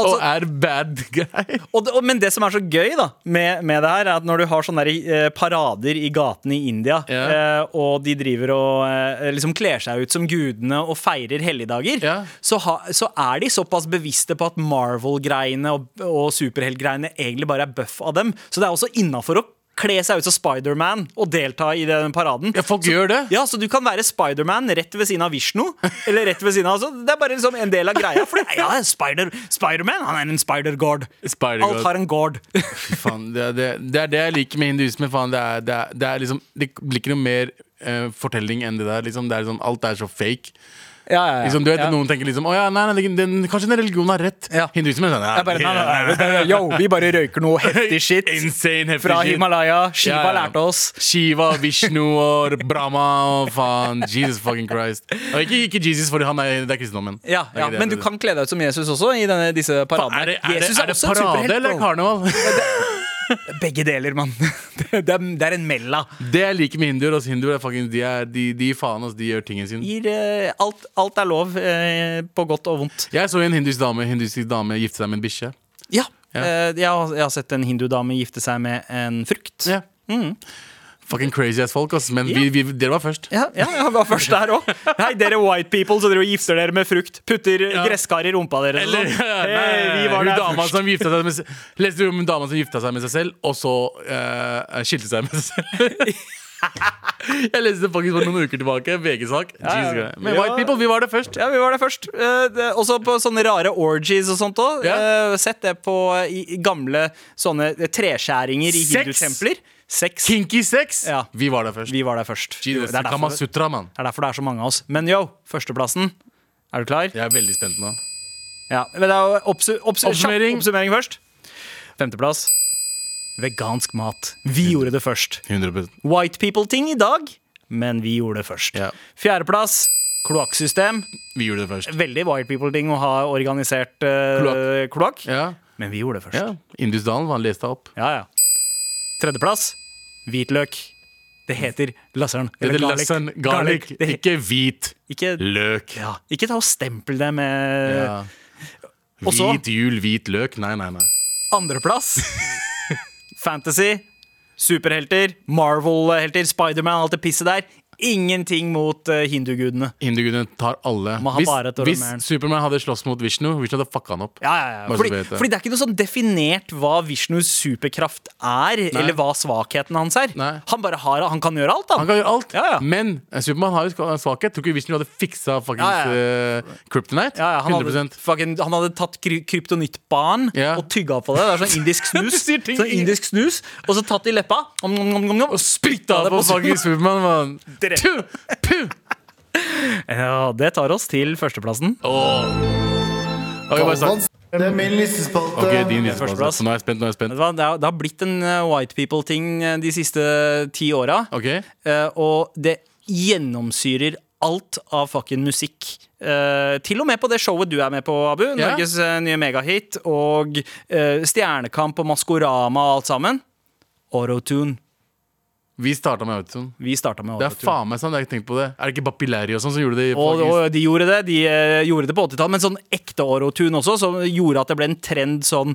og er bad guy.
og, det- og, men det som er så gøy da med, med det her, er at når du har sånne der, eh, parader i gatene i India,
Ja.
eh, og de driver og eh, liksom kler seg ut som gudene og feirer helligdager,
Ja.
så, ha, så er de såpass bevisste på at Marvel-greiene og, og superheltgreiene egentlig bare er buff av dem. Så det er også innafor å kle seg ut som Spiderman og delta i den paraden.
Ja, folk gjør det.
Ja, så du kan være Spiderman rett ved siden av Vishnu. Eller rett ved siden av altså, Det er bare liksom en del av greia. For det- ja, Spider, Spiderman han er en spider-god.
Spider-god.
Alt har en god.
Fy faen, det, er- det, det er det jeg liker med hinduisme. Faen. Det, er, det, er, det er liksom Det blir ikke noe mer eh, fortelling enn det der. Liksom. Det er liksom, alt er så fake.
Ja, ja, ja.
Liksom, du vet,
Ja.
Noen tenker liksom Å ja, nei, nei, den, kanskje den religionen har rett.
Ja.
Hinduisme er sånn
Det er bare, nei, nei, nei, nei, nei, Yo, vi bare røyker noe heftig shit
Insane heftig
fra
shit.
Himalaya. Shiva
Ja, ja.
lærte oss.
Shiva, Vishnu og Brahma og faen. Jesus fucking Christ. Og ikke, ikke Jesus, for han er, det er kristendommen.
Ja,
Det er
ja,
ikke det
men
jeg
du
tror.
kan kle deg ut som Jesus også i denne, disse paradene.
er det, er det,
Jesus
er det
også en
parade
superhelt,
eller
bro.
karneval?
Begge deler, mann. Det, det, er- det er en mella.
Det jeg liker med hinduer, altså, hinduer er fucking, de, er, de, de faen oss, de gjør tingen sin.
Gir, eh, alt, alt er lov, eh, på godt og vondt.
Jeg så en hinduisk dame, hinduisk dame gifte seg med en bikkje.
Ja.
Ja.
eh, Jeg, har, jeg har sett en hindudame gifte seg med en frukt.
Ja. Fucking crazy ass folk, ass. Men vi, vi, dere var først.
Mm. Ja, ja, jeg var først der òg. Hei, dere white people, så dere gifter dere med frukt. Putter gresskar i rumpa deres. og
Eller
sånn.
nei,
Hei, vi var
hun
der
dama
først.
som gifta seg med se- Leste du om hun dama som gifta seg med seg selv, og så eh, skilte seg med seg selv? Jeg leste det faktisk for noen uker tilbake. VG-sak. Jesus Christ. Men
Ja.
white people, vi var det først.
Ja, vi var der først. Eh, det- Også på sånne rare orgies og sånt òg.
Ja.
Sett det på eh, i, i gamle sånne eh, treskjæringer i
Sex.
hindutempler. Sex.
Kinky sex.
Ja.
Vi var der først.
Vi var der først.
Jesus,
Det er derfor- det
Kamasutra, mann.
er derfor det er så mange av oss. Men yo, førsteplassen. Er du klar?
Jeg er veldig spent nå.
Ja, men det er jo oppsu oppsu oppsummering.
Oppsummering.
oppsummering først. Femteplass. Vegansk mat. Vi gjorde det først.
100
White people-ting i dag, men vi gjorde det først.
Ja.
Fjerdeplass. Kloakksystem.
Vi gjorde det først.
Veldig white people-ting å ha organisert eh, kloakk.
Ja.
Men vi gjorde det først.
ja. Indusdalen, han leste opp.
Ja, ja. Tredjeplass. Hvitløk. Det heter lasern.
Det
eller
heter
garlic.
lasan garlic,
Det he-
ikke hvit
ikke,
løk.
ja. ikke ta og stempel det med
Ja.
Og så-
Hvit jul, hvit løk. Nei, nei, nei.
Andreplass Fantasy Superhelter, Marvel-helter, Spiderman, alt det pisset der. Ingenting mot eh, hindugudene.
Hindugudene tar alle.
Mahabharat og
hvis
Ramayana.
hvis Supermann hadde slåss mot Vishnu, Vishnu hadde fucka han opp.
Ja, ja, ja.
Bare så
Fordi,
du vet det.
fordi det er ikke noe sånn definert hva Vishnus superkraft er, eller hva svakheten hans er.
Nei.
Han bare har, han kan gjøre alt, han.
Han kan gjøre alt,
Ja, ja.
men Supermann har jo sk- en svakhet. Tror ikke Vishnu hadde fiksa fuckings
Ja,
eh, Kryptonite.
ja, ja, han, hadde,
100
fucking, han hadde tatt kry kryptonittbaren
Ja.
og tygga på det. Det er sånn indisk snus.
Du sier ting-
sånn indisk snus Og så tatt i leppa, om, om, om, om, og spytta
Da
det på
fucking Supermann, mann.
Dere-
Puh, puh.
Ja, Det tar oss til førsteplassen.
Åh. Ok, bare snakk.
Galvans Det er min listespalte.
Ok, din liste,
Førsteplass.
altså. Så nå er jeg spent. nå er jeg
Vet
spent
du hva, Det har, det har blitt en eh, white people-ting eh, de siste ti åra.
Ok,
Eh, og det gjennomsyrer alt av fucking musikk. Eh, til og med på det showet du er med på, Abu.
Ja.
Norges eh, nye megahit. Og eh, Stjernekamp og Maskorama og alt sammen. Autotune.
Vi starta med autotune.
Vi starta med
Det er
autotune.
faen meg sant. Jeg har ikke tenkt på det. Er det ikke Bapilleri og sånn som gjorde det? i-
Og, og de gjorde det De eh, gjorde det på 80-tallet, men sånn ekte autotune også, som gjorde at det ble en trend sånn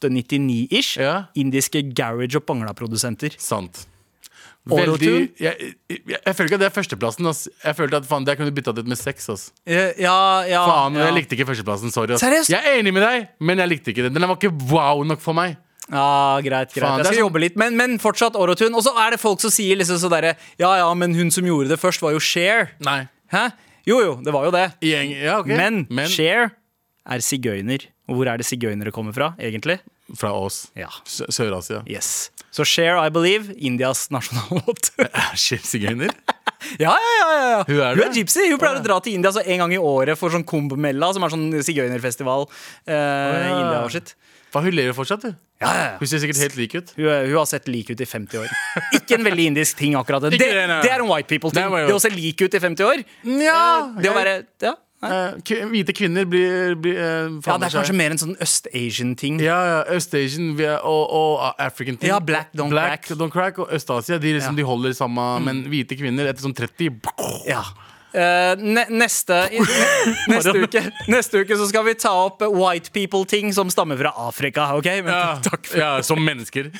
98-99-ish.
Ja.
Indiske garage- og bangla-produsenter.
Sant.
Autotune?
Veldig jeg, jeg, jeg føler ikke at det er førsteplassen. Ass. Jeg følte at faen, jeg kunne bytta det ut med sex. Ass.
Eh, ja, ja,
Faen,
ja.
Jeg likte ikke førsteplassen. Sorry. Ass.
Seriøst?
Jeg er enig med deg, men jeg likte ikke den. Den var ikke wow nok for meg.
Ja, greit, greit. jeg
Faen, det er
skal
sånn-
jobbe litt, men, men fortsatt Orotun. Og så er det folk som sier liksom så derre Ja, ja, men hun som gjorde det først, var jo Cher.
Nei.
Hæ? Jo, jo, det var jo det.
I gjeng- ja, ok.
Men, Cher er sigøyner. Og hvor er det sigøynere kommer fra, egentlig?
fra oss.
Ja.
Sø- Sør-Asia.
Yes. Så Cher, I believe, Indias nasjonallåt.
Skipsigøyner?
ja, ja, ja, ja, ja.
Hun er det?
gypsy. Hun pleier å dra til India så en gang i året for sånn Kumbh-mella, som er sånn sigøynerfestival eh, i
ja.
India og sitt.
Faen, hun lever fortsatt, du.
Ja, ja, ja.
Hun ser sikkert helt lik ut.
Hun, eh, hun har sett lik ut i 50 år. Ikke en veldig indisk ting, akkurat. Det, det,
Ikke det, nei.
er en white people-ting.
Det var jo-
Det å se lik ut i 50 år.
Nja,
eh, Det å
jeg-
være ja. nei.
Eh, k- hvite kvinner blir, blir
ja,
eh, faen
det er
seg-
kanskje mer en sånn øst-Asian-ting.
ja, ja, Øst-Asian vi er- og, og ah, African ting.
Ja, black don't crack.
don't crack Og Øst-Asia de, liksom,
Ja. Mm.
de holder samme, men hvite kvinner etter sånn 30
Ja. Eh, ne neste, i- neste, uke, neste uke så skal vi ta opp white people-ting som stammer fra Afrika. ok? Men,
Ja, ja, som mennesker.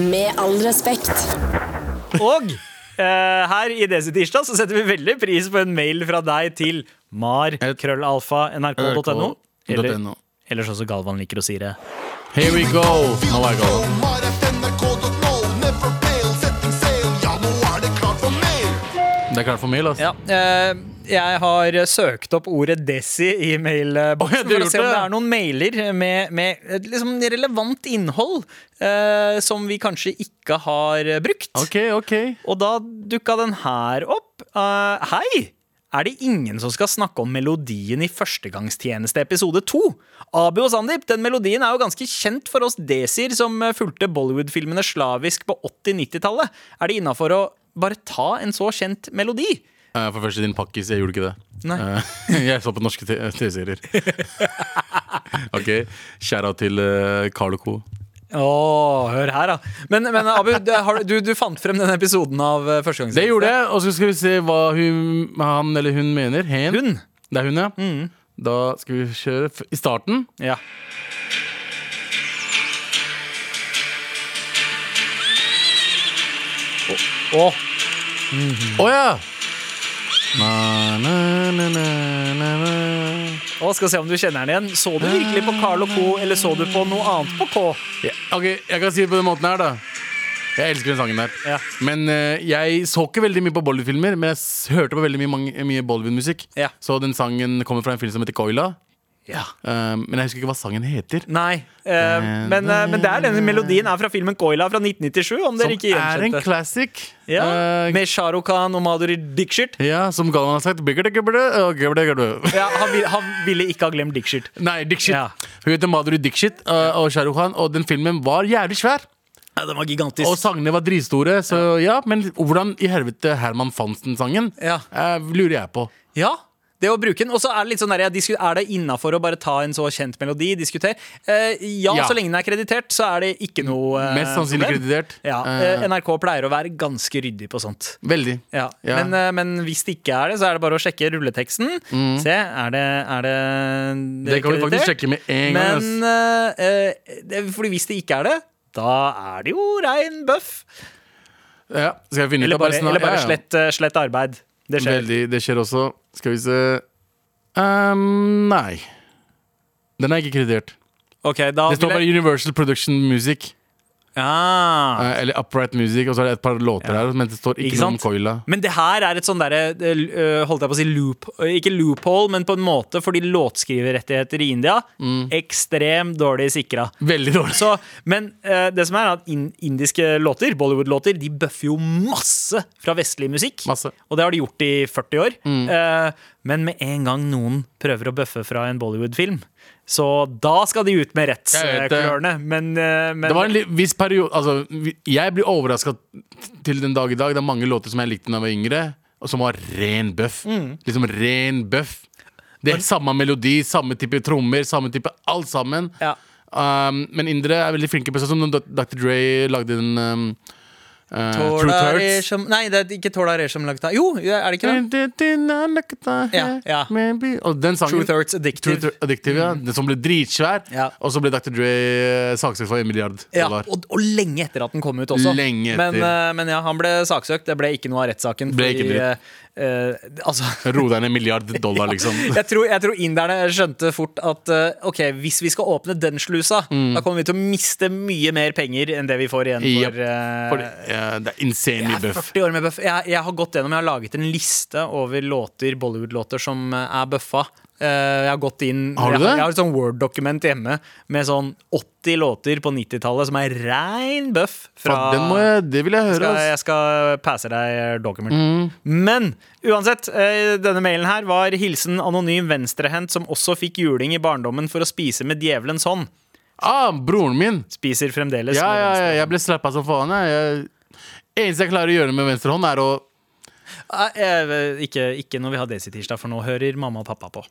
Med all respekt.
Og eh, her i Desi Tirsdag så setter vi veldig pris på en mail fra deg til mar.krøllalfa.nrk.no. Eller,
.no.
eller sånn som Galvan liker å si det.
Here we go! Nå var jeg gal. Det er klart for altså. mail, ass.
Ja, eh, jeg har søkt opp ordet desi i
Å, ja,
mailboksen
du har
for å
gjort
se om
det,
det
ja.
er noen mailer med, med eh, liksom relevant innhold eh, som vi kanskje ikke har eh, brukt.
Ok, ok.
Og da dukka den her opp. Eh, hei! Er det ingen som skal snakke om melodien i Førstegangstjeneste episode 2? Abu og Sandeep, den melodien er jo ganske kjent for oss desier som eh, fulgte Bollywood-filmene slavisk på 80-90-tallet. Er det innafor å bare ta en så kjent melodi?
Eh, for først din pakkis. Jeg gjorde ikke det.
Nei.
Eh, jeg så på norske te- eh, TV-serier. ok. Skjæra til eh, Carl Co.
Å, hør her, da. Men, men Abu, du, har, du, du fant frem den episoden av eh, første gang?
Det gjorde jeg, og så skal vi se hva hun, han eller hun mener. Hen.
Hun. Mm.
Det er hun, ja. Da skal vi kjøre f i starten.
Ja. Å, å,
Å ja! Na, na, na, na, na, na.
å, skal se om du kjenner den igjen. Så du virkelig på Carl og Co., eller så du på noe annet på K?
Ja, ok, jeg kan si det på den måten her, da. Jeg elsker den sangen der.
Ja.
Men eh, jeg så ikke veldig mye på Bollywood-filmer, men jeg s- hørte på veldig mye, mange- mye Bollywood-musikk.
Ja.
Så den sangen kommer fra en film som heter Koila.
Ja.
eh, men jeg husker ikke hva sangen heter.
Nei. eh, men, eh, men det er denne melodien er fra filmen Koila fra 1997, om dere
Som
ikke
er en
gjenkjente.
classic.
Ja,
Eh,
med Shahrukh Khan og Madhuri Dixit.
Ja, som Galvan har sagt. oh, Bigger det, gubber det, og gubber det, gubber det.
Ja, han, vil, han ville ikke ha glemt Dixit.
Nei, Dixit.
Ja.
Hun heter Madhuri Dixit uh, og Shahrukh Khan, og den filmen var jævlig svær.
Ja, den var gigantisk.
Og sangene var dritstore, så ja. Men hvordan i helvete Herman fant den sangen,
Ja.
eh, lurer jeg på.
Ja, det å bruke den. Og så er det litt sånn der, ja, disku- er det innafor å bare ta en så kjent melodi? Diskuter. Eh, ja,
Ja.
så lenge den er kreditert, så er det ikke noe eh,
Mest sannsynlig
problem.
kreditert.
Ja,
Eh.
eh, NRK pleier å være ganske ryddig på sånt.
Veldig.
Ja.
Ja.
Men, eh, men hvis det ikke er det, så er det bare å sjekke rulleteksten. Se, er det, er det
Mm. Det kan vi faktisk sjekke med en gang. ass.
Men eh, eh, det- fordi hvis det ikke er det, da er det jo rein bøff.
ja, skal jeg finne
Eller
ut av
bare,
snak-
eller bare
ja, ja.
slett, eh, slett arbeid. Det skjer.
Veldig, det skjer også. Skal vi se Ehm, Nei. Den er ikke kreditert.
Ok, da
Det
vil
står
jeg-
bare Universal Production Music.
Ah.
Eh, Eller Upright Music, og så er det et par låter her, men det står ikke,
Ikke
noe om
sant?
Koila.
Men det her er et sånn derre eh, Holdt jeg på å si loop eh, Ikke loophole, men på en måte fordi låtskriverrettigheter i India
Mm.
ekstremt dårlig sikra.
Veldig dårlig.
Så, men eh, det som er at in indiske låter, Bollywood-låter, de bøffer jo masse fra vestlig musikk.
Masse. Mm.
Og det har de gjort i 40 år. Eh, men med en gang noen prøver å bøffe fra en Bollywood-film, så da skal de ut med
Jeg vet det.
rettsklørne. Men, eh, men
Det var en li- viss periode altså, vi- Jeg blir overraska til den dag i dag. Det er mange låter som jeg likte da jeg var yngre, og som var ren bøff.
Mm.
Liksom ren bøff. Det er samme melodi, samme type trommer, samme type alt sammen.
Ja.
Um, men indere er veldig flinke på sånn som når Dr. Dre lagde den um, uh, True
Tåla
Turds.
Resham Nei, det er ikke Tåla Resham Lagta. Jo, er det ikke det? Ja, ja.
Maybe. Og den sangen
True Thirds Addictive. Mm.
True Thirds Addictive, ja. Den som ble dritsvær.
Ja.
Og så ble Dr. Dre eh, saksøkt for en milliard
Ja,
dollar.
og, og lenge etter at den kom ut også.
Lenge
Men,
etter.
eh, men ja, han ble saksøkt. Det ble ikke noe av rettssaken.
Ble ikke
fordi, eh, eh, altså
Ro deg ned en milliard dollar, liksom.
jeg, tror, jeg tror inderne skjønte fort at eh, Ok, hvis vi skal åpne den slusa,
Mm.
da kommer vi til å miste mye mer penger enn det vi får igjen
Jep.
for, eh,
For, eh, det er insane mye bøff.
40 år med bøff. Jeg, jeg har gått gjennom, jeg har laget en liste over låter, Bollywood-låter som eh, er bøffa. Eh, jeg har gått inn
Har du
Jeg,
det?
jeg har et sånn Word-dokument hjemme med sånn 80 låter på 90-tallet som er rein bøff. Fra,
Faen, Den må jeg, det vil jeg høre.
skal,
ass. Mm.
jeg skal passe deg document. Men uansett, eh, denne mailen her var hilsen anonym venstrehendt som også fikk juling i barndommen for å spise med djevelens hånd.
Ah, broren min!
Spiser fremdeles
Ja,
med
ja,
venstre.
ja, jeg ble slappa som faen. jeg. Jeg, eneste jeg klarer å gjøre med venstre hånd, er å
Eh, eh, Ikke, ikke når vi har Desi-tirsdag, for nå hører mamma og pappa på.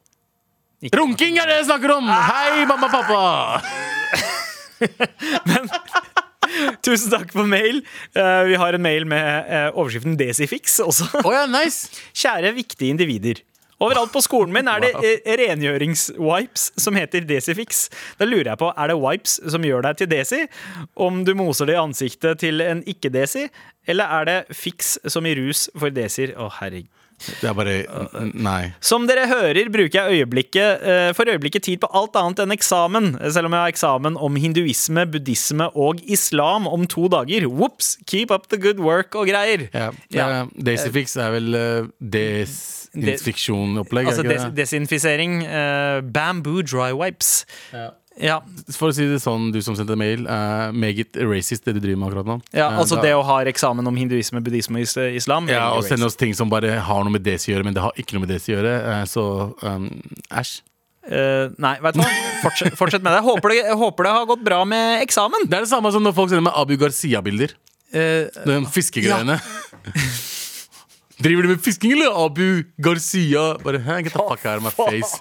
Runking er det jeg snakker om! Hei, mamma og pappa!
Tusen takk for mail. Eh, vi har en mail med eh, overskriften Desifix også.
Å ja, nice!
Kjære viktige individer. Overalt på skolen min er det eh, rengjøringswipes som heter Desifix. Da lurer jeg på, er det wipes som gjør deg til Desi? Om du moser det i ansiktet til en ikke-Desi? Eller er det Fix som i rus for Desier? Å, herregud.
Det er bare n- Nei.
Som dere hører, bruker jeg øyeblikket, eh, for øyeblikket tid på alt annet enn eksamen, selv om jeg har eksamen om hinduisme, buddhisme og islam om to dager. Whoops! Keep up the good work og greier.
Ja.
Ja.
Ja. Daisyfix er vel uh, desinfeksjonopplegg?
Altså
er ikke
des
det?
desinfisering. eh, bamboo dry wipes. Ja,
For å si det sånn, du som sendte mail, er meget racist det du driver med akkurat nå.
ja
Eh,
altså
da-
det å ha eksamen om hinduisme, buddhisme og is islam.
ja,
veldig
og sende
racist.
oss ting som bare har noe med Daisy å gjøre, men det har ikke noe med Daisy å gjøre. eh, Så um, æsj.
Eh, nei, vet du hva? Fortsett, fortsett med det. Jeg Håper det, jeg håper det har gått bra med eksamen.
Det er det samme som når folk sender meg Abu Garcia-bilder.
Eh,
De fiskegreiene. Driver du med fisking, eller Abu Garcia? Bare, hæ, get the fuck out of my face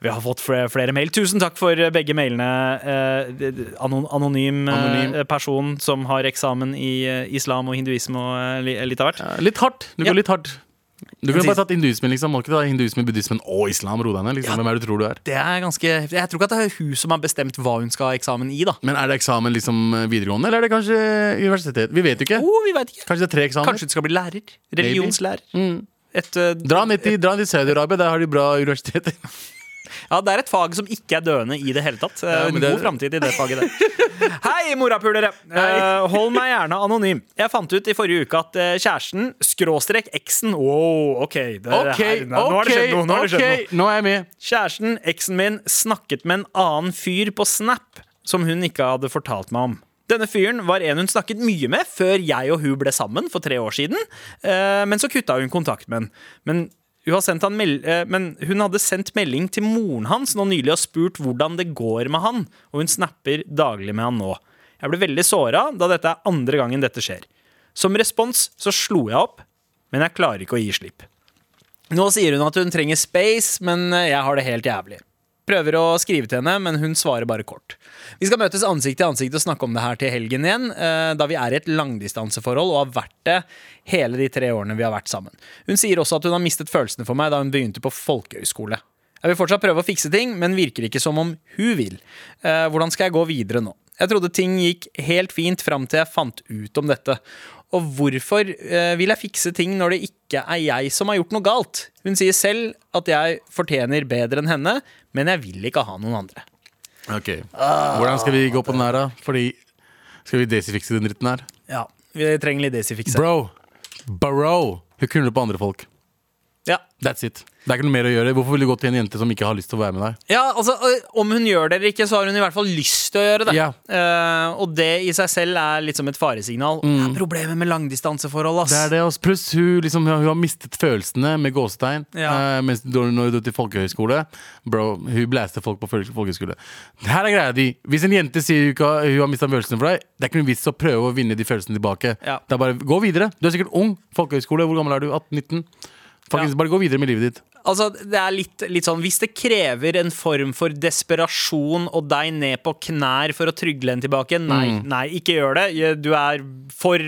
Vi har fått flere, flere mail. Tusen takk for begge mailene. Eh, d- d- anon- Anonym, eh,
Anonym.
person som har eksamen i eh, islam og hinduisme og eh, li- litt av hvert.
Eh, Litt hardt. Du går
Ja.
litt hardt. Du kunne
Jeg
bare
sier-
tatt hinduismen, liksom. Må ikke ta hinduismen, buddhismen og islam. Ro deg ned, liksom. Hvem er det du tror du er?
Det er ganske Jeg tror ikke at det er hun som har bestemt hva hun skal ha eksamen i, da.
Men er det eksamen liksom videregående, eller er det kanskje universitet? Vi vet jo ikke.
Oh, vi vet ikke.
Kanskje det er tre eksamener?
Kanskje du skal bli lærer? Religionslærer? Et, eh,
Dra ned til, dra ned til Saudi-Arabia, der har de bra universiteter.
ja, det er et fag som ikke er døende i det hele tatt. Eh,
Ja,
en
men det-
god framtid i det faget der. Hei, morapulere! Eh, hold meg gjerne anonym. Jeg fant ut i forrige uke at eh, kjæresten, skråstrek eksen Wow, OK. Det,
Ok,
her- nå, nå har det skjedd noe.
ok,
Nå har det skjedd noe.
ok, nå er jeg med.
Kjæresten, eksen min, snakket med en annen fyr på Snap som hun ikke hadde fortalt meg om. Denne fyren var en hun snakket mye med før jeg og hun ble sammen for tre år siden, eh, men så kutta hun kontakt med han. Men hun, har sendt han mel eh, men hun hadde sendt melding til moren hans nå nylig og spurt hvordan det går med han, og hun snapper daglig med han nå. Jeg ble veldig såra da dette er andre gangen dette skjer. Som respons så slo jeg opp, men jeg klarer ikke å gi slipp. Nå sier hun at hun trenger space, men eh, jeg har det helt jævlig. Prøver å skrive til henne, men hun svarer bare kort. Vi skal møtes ansikt til ansikt og snakke om det her til helgen igjen, eh, da vi er i et langdistanseforhold og har vært det hele de tre årene vi har vært sammen. Hun sier også at hun har mistet følelsene for meg da hun begynte på folkehøyskole. Jeg vil fortsatt prøve å fikse ting, men virker ikke som om hun vil. Eh, Hvordan skal jeg gå videre nå? Jeg trodde ting gikk helt fint fram til jeg fant ut om dette. Og hvorfor eh, vil jeg fikse ting når det ikke er jeg som har gjort noe galt? Hun sier selv at jeg fortjener bedre enn henne, men jeg vil ikke ha noen andre.
Ok, Hvordan skal vi gå på den her, da? Fordi Skal vi desifikse den dritten her?
Ja, Vi trenger litt desifikse.
Bro. Bro. Hun knuller på andre folk.
Ja.
That's it. Det er ikke noe mer å gjøre. Hvorfor vil du gå til en jente som ikke har lyst til å være med deg?
ja, altså ø, Om hun gjør det eller ikke, så har hun i hvert fall lyst til å gjøre det.
Ja.
Eh, og det i seg selv er litt som et faresignal. Det er problemet med langdistanseforhold. ass
Det er det, ass. Pluss hun, liksom, hun har mistet følelsene med gåstein
Ja.
eh, mens da hun dro til folkehøyskole. Bro, hun blæste folk på føl- folkehøyskole. Her er greia di. Hvis en jente sier hun, ikke har, hun har mista følelsene for deg, det er ikke noen vits å prøve å vinne de følelsene tilbake.
Ja.
Det er bare Gå videre. Du er sikkert ung. Folkehøyskole, hvor gammel er du? 18-19? Faktisk,
Ja.
Bare gå videre med livet ditt.
Altså, det er litt, litt sånn Hvis det krever en form for desperasjon og deg ned på knær for å trygle en tilbake, nei, nei, ikke gjør det. Du er for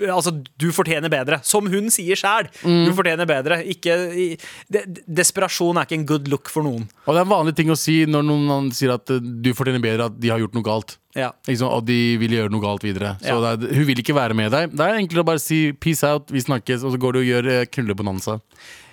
Altså, du fortjener bedre. Som hun sier sjæl. Du fortjener bedre. Ikke i- de, Desperasjon er ikke en good look for noen.
Og det er en vanlig ting å si når noen annen sier at eh, du fortjener bedre at de har gjort noe galt.
Ja.
Ikke sant? Og de vil gjøre noe galt videre. Så
Ja.
det er, hun vil ikke være med deg. Det er enklere å bare si 'peace out', vi snakkes, og så går du og gjør eh, knullebonanza.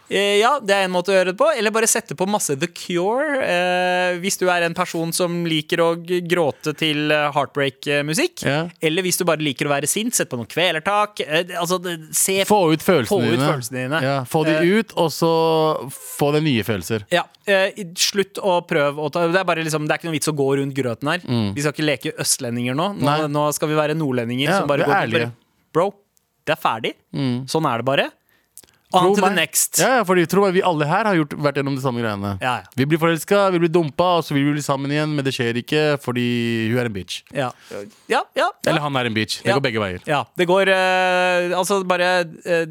Eh, ja, det er en måte å gjøre det på. Eller bare sette på masse The Cure. Eh, hvis du er en person som liker å g- gråte til eh, heartbreak-musikk.
Ja.
Eller hvis du bare liker å være sint, sett på noen kvelertak. Eh, det- altså, det- se
Få ut følelsene
Få ut
dine.
følelsene dine.
Ja, få de
Eh.
ut, og så få deg nye følelser.
Ja, eh, i- slutt å prøve å ta Det er bare liksom, det er ikke noe vits å gå rundt grøten her. Vi skal ikke leke østlendinger nå. Nå,
Mm. Nei.
nå skal vi være nordlendinger
Ja,
som bare
vi er
går
ærlige. Mm.
Bro, det er ferdig. Sånn er det bare. On
Tro
to the
meg.
next.
Ja, ja, fordi tro meg, vi alle her har gjort, vært gjennom de samme greiene.
Ja, ja.
Vi blir forelska, vi blir dumpa, og så vil vi bli sammen igjen, men det skjer ikke fordi hun er en bitch.
Ja, ja. ja,
Eller han er en bitch. Det
Ja.
går begge veier.
Ja, det går eh, Altså, bare eh,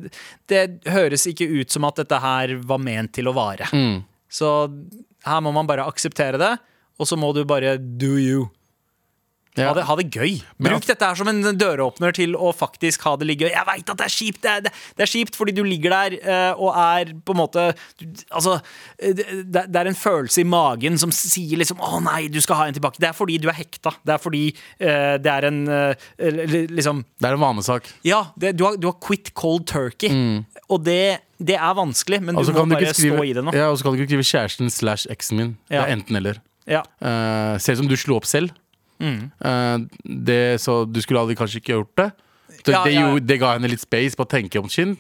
Det høres ikke ut som at dette her var ment til å vare.
Mm.
Så her må man bare akseptere det, og så må du bare do you.
Ja.
Ha, det, ha det gøy.
Men-
Bruk dette her som en døråpner til å faktisk ha det litt gøy. Jeg veit at det er kjipt, det er, det, det er kjipt fordi du ligger der eh, og er på en måte du- Altså, eh, det, det er en følelse i magen som sier liksom 'Å nei, du skal ha en tilbake'. Det er fordi du er hekta. Det er fordi eh, det er en eh, li- Liksom
Det er en vanesak.
ja, det, du, har, du har quit cold turkey. Og det, det er vanskelig, men du
Og så
må
Mm. Altså, kan du
bare
ikke skrive,
stå i det nå.
ja, og så kan du ikke skrive kjæresten slash eksen min.
Ja.
Det er enten eller.
Ja.
Eh, ser ut som du slo opp selv.
Mm.
Eh, det, så du skulle aldri kanskje ikke gjort det. Så
Ja,
det,
ja. Mm.
gjorde- det ga henne litt space på å tenke om skinn.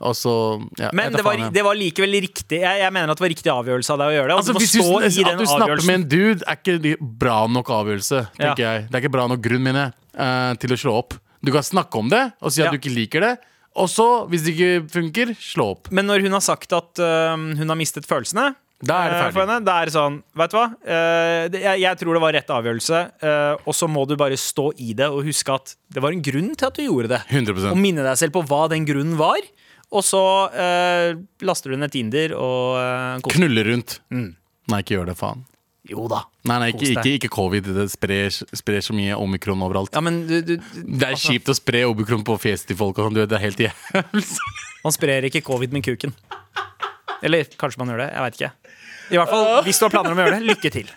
Og så, ja, jeg
Men
vet
det
da
var,
faen, jeg.
det var likevel riktig. Jeg, jeg mener at det var riktig avgjørelse av deg å gjøre det. Og
altså,
du må
hvis du,
stå
at
i den
du snakker med
avgjørelsen.
en dude, er ikke det bra nok avgjørelse. tenker jeg Det er ikke bra nok grunn, mener jeg, eh, til å slå opp. Du kan snakke om det og si at
Ja.
du ikke liker det. Og så, hvis det ikke funker, slå opp.
Men når hun har sagt at øhm, hun har mistet følelsene
Da er det
øh,
ferdig.
for henne, da er det sånn, vet du hva? Øh, det, jeg, jeg tror det var rett avgjørelse, øh, og så må du bare stå i det og huske at det var en grunn til at du gjorde det.
100%
Og minne deg selv på hva den grunnen var. Og så øh, laster du ned Tinder og øh, koser.
Knulle rundt. Nei, ikke gjør det, faen.
Jo da.
Nei, nei,
Mm. Kos
ikke,
deg.
ikke, ikke covid. Det sprer, sprer så mye omikron overalt.
Ja, men du, du, du-
Det er kjipt å spre omikron på fjeset til folk. og sånn, Du vet, det er helt jævlig.
man sprer ikke covid med kuken. Eller kanskje man gjør det. Jeg veit ikke. I hvert fall, Hvis du har planer om å gjøre det, lykke til.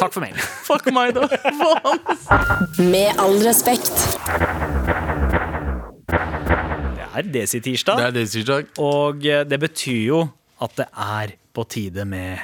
Takk for mailen.
Fuck meg, da.
Med all respekt.
Det er
Det
Desi-tirsdag,
er deres tirsdag.
og eh, det betyr jo at det er på tide med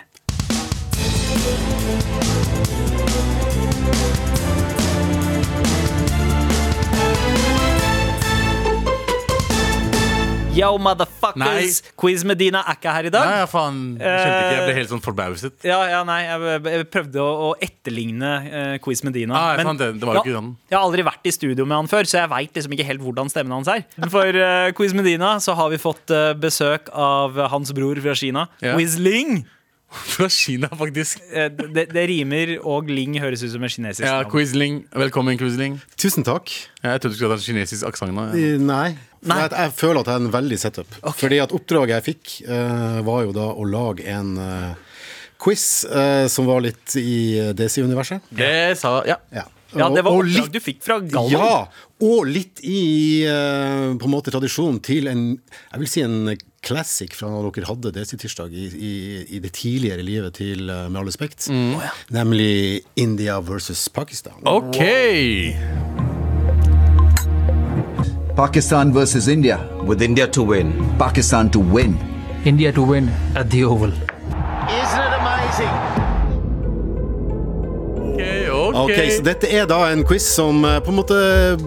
Yo, motherfuckers! Quiz Medina er ikke her i dag.
Nei, ja, faen. Jeg skjønte ikke. Jeg ble helt sånn forbauset.
Ja, ja, nei, jeg, jeg prøvde å, å etterligne eh, Quiz Medina.
Ah, jeg fant det. Det var jo
ja,
ikke den.
Jeg har aldri vært i studio med han før, så jeg veit liksom ikke helt hvordan stemmen hans er. For eh, Quiz Medina så har vi fått eh, besøk av hans bror fra Kina,
Ja.
Wiz Ling.
Fra Kina, faktisk.
Eh, det, det rimer, og Ling høres ut som en kinesisk
Ja,
navn.
Quisling. Velkommen, Quisling.
Tusen takk.
Ja, Jeg trodde du skulle ha en kinesisk aksent nå. Ja.
Eh, Nei. Jeg, jeg føler at jeg er en veldig setup. Fordi at oppdraget jeg fikk, eh, var jo da å lage en eh, quiz eh, som var litt i Desi-universet.
Det sa Ja.
Ja.
Ja, det var
Og- og
oppdrag
litt-
du fikk fra Galvan.
Ja, og litt i eh, på en måte tradisjonen til en Jeg vil si en classic fra når dere hadde Desi-tirsdag i, i, i det tidligere livet til eh, Med all respekt.
Mm.
Nemlig India versus Pakistan.
OK!
Pakistan versus India.
with India to win.
Pakistan to win.
India to win at the Oval.
OK, ok
Ok, så Dette er da en quiz som eh, på en måte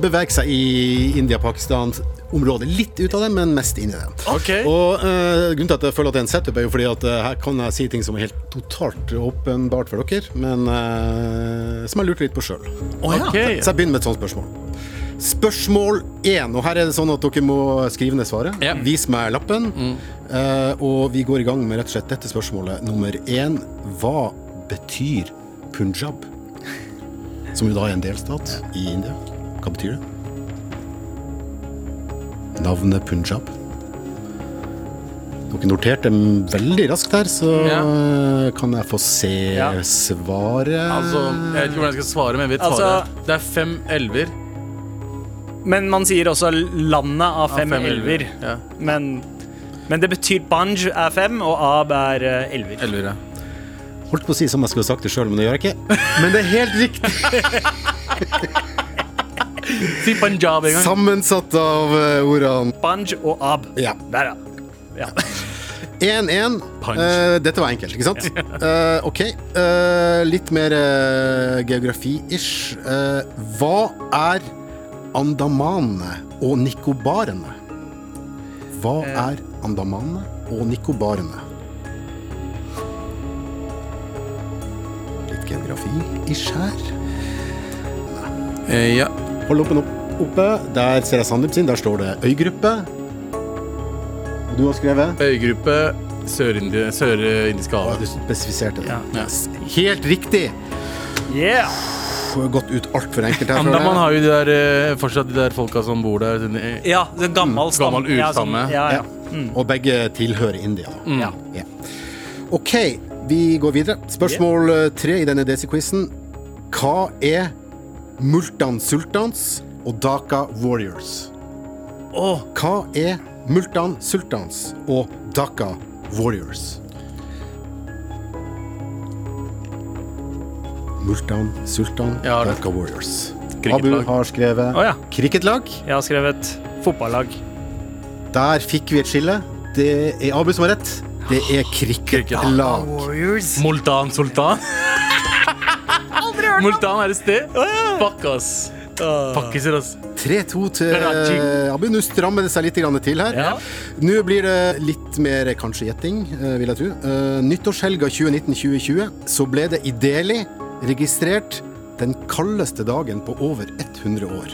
beveger seg i India-Pakistan-området. Litt ut av det, men mest inn i det.
Ok.
Og eh, Grunnen til at jeg føler at det er en setup, er jo fordi at eh, her kan jeg si ting som er helt totalt åpenbart for dere, men eh, som jeg lurte litt på sjøl.
Ok.
Så jeg begynner med et sånt spørsmål. Spørsmål én, og her er det sånn at dere må skrive ned svaret.
Ja.
Vis meg lappen. Eh, og vi går i gang med rett og slett dette spørsmålet nummer én. Hva betyr punjab? Som jo da er en delstat i India. Hva betyr det? Navnet punjab. Dere noterte m- veldig raskt her, så eh, kan jeg få se
Ja.
svaret.
Altså, jeg vet ikke hvordan jeg skal svare, men jeg vet
Altså-
svaret. det er fem elver.
Men man sier også 'landet av fem,
fem
elver'.
elver, ja.
Men, men det betyr Banj er fem, og Ab er eh, elver.
Elver, ja.
Holdt på å si som jeg skulle sagt det sjøl, men det gjør jeg ikke. Men det er helt riktig
Si Punjab en gang.
sammensatt av eh, ordene.
Banj og Ab.
Ja.
Der, ja.
1-1.
Punch.
Eh, dette var enkelt, ikke sant? Eh, ok. Eh, litt mer eh, geografi-ish. Eh, hva er andamanene og nikobarene? Hva
Eh.
er andamanene og nikobarene? Litt geografi-ish her.
Eh, ja.
Hold oppen opp, oppe. Der ser jeg Sandeep sin. Der står det øygruppe. Og Du har skrevet?
Øygruppe Sør-Indi- Sør-Indiske
Ja, du
havet.
spesifiserte det.
Ja.
Yes. Helt riktig!
Yeah.
Får gått ut altfor enkelt her. føler jeg.
Andaman har jo de der, eh, fortsatt de der folka som bor der. sånn, eh,
Ja, det er gammel stam-
gammel
ja, sånn-
urstamme.
Ja, ja.
Ja. Og begge tilhører India.
Ja.
Ja. OK, vi går videre. Spørsmål eh, tre i denne Desi-quizen. Hva er Multan Sultans og Dhaka Warriors?
Åh.
Hva er Multan Sultans og Dhaka Warriors? Multan Sultan
Jeg har det.
Dhaka Warriors.
Cricketlag.
Abu har skrevet
Å, ja.
cricketlag.
Jeg har skrevet fotballag.
Der fikk vi et skille. Det er Abu som har rett. Det er cricketlag.
Multan Sultan. Multan er et sted. Fuck, ass. Pakkiser, ass.
3-2 til eh,
Karachi.
Abu. Nå strammer det seg litt grann til her.
Ja.
Nå blir det litt mer kanskje gjetting, eh, vil jeg tro. Eh, Nyttårshelga 2019-2020 så ble det i Delhi registrert den kaldeste dagen på over 100 år.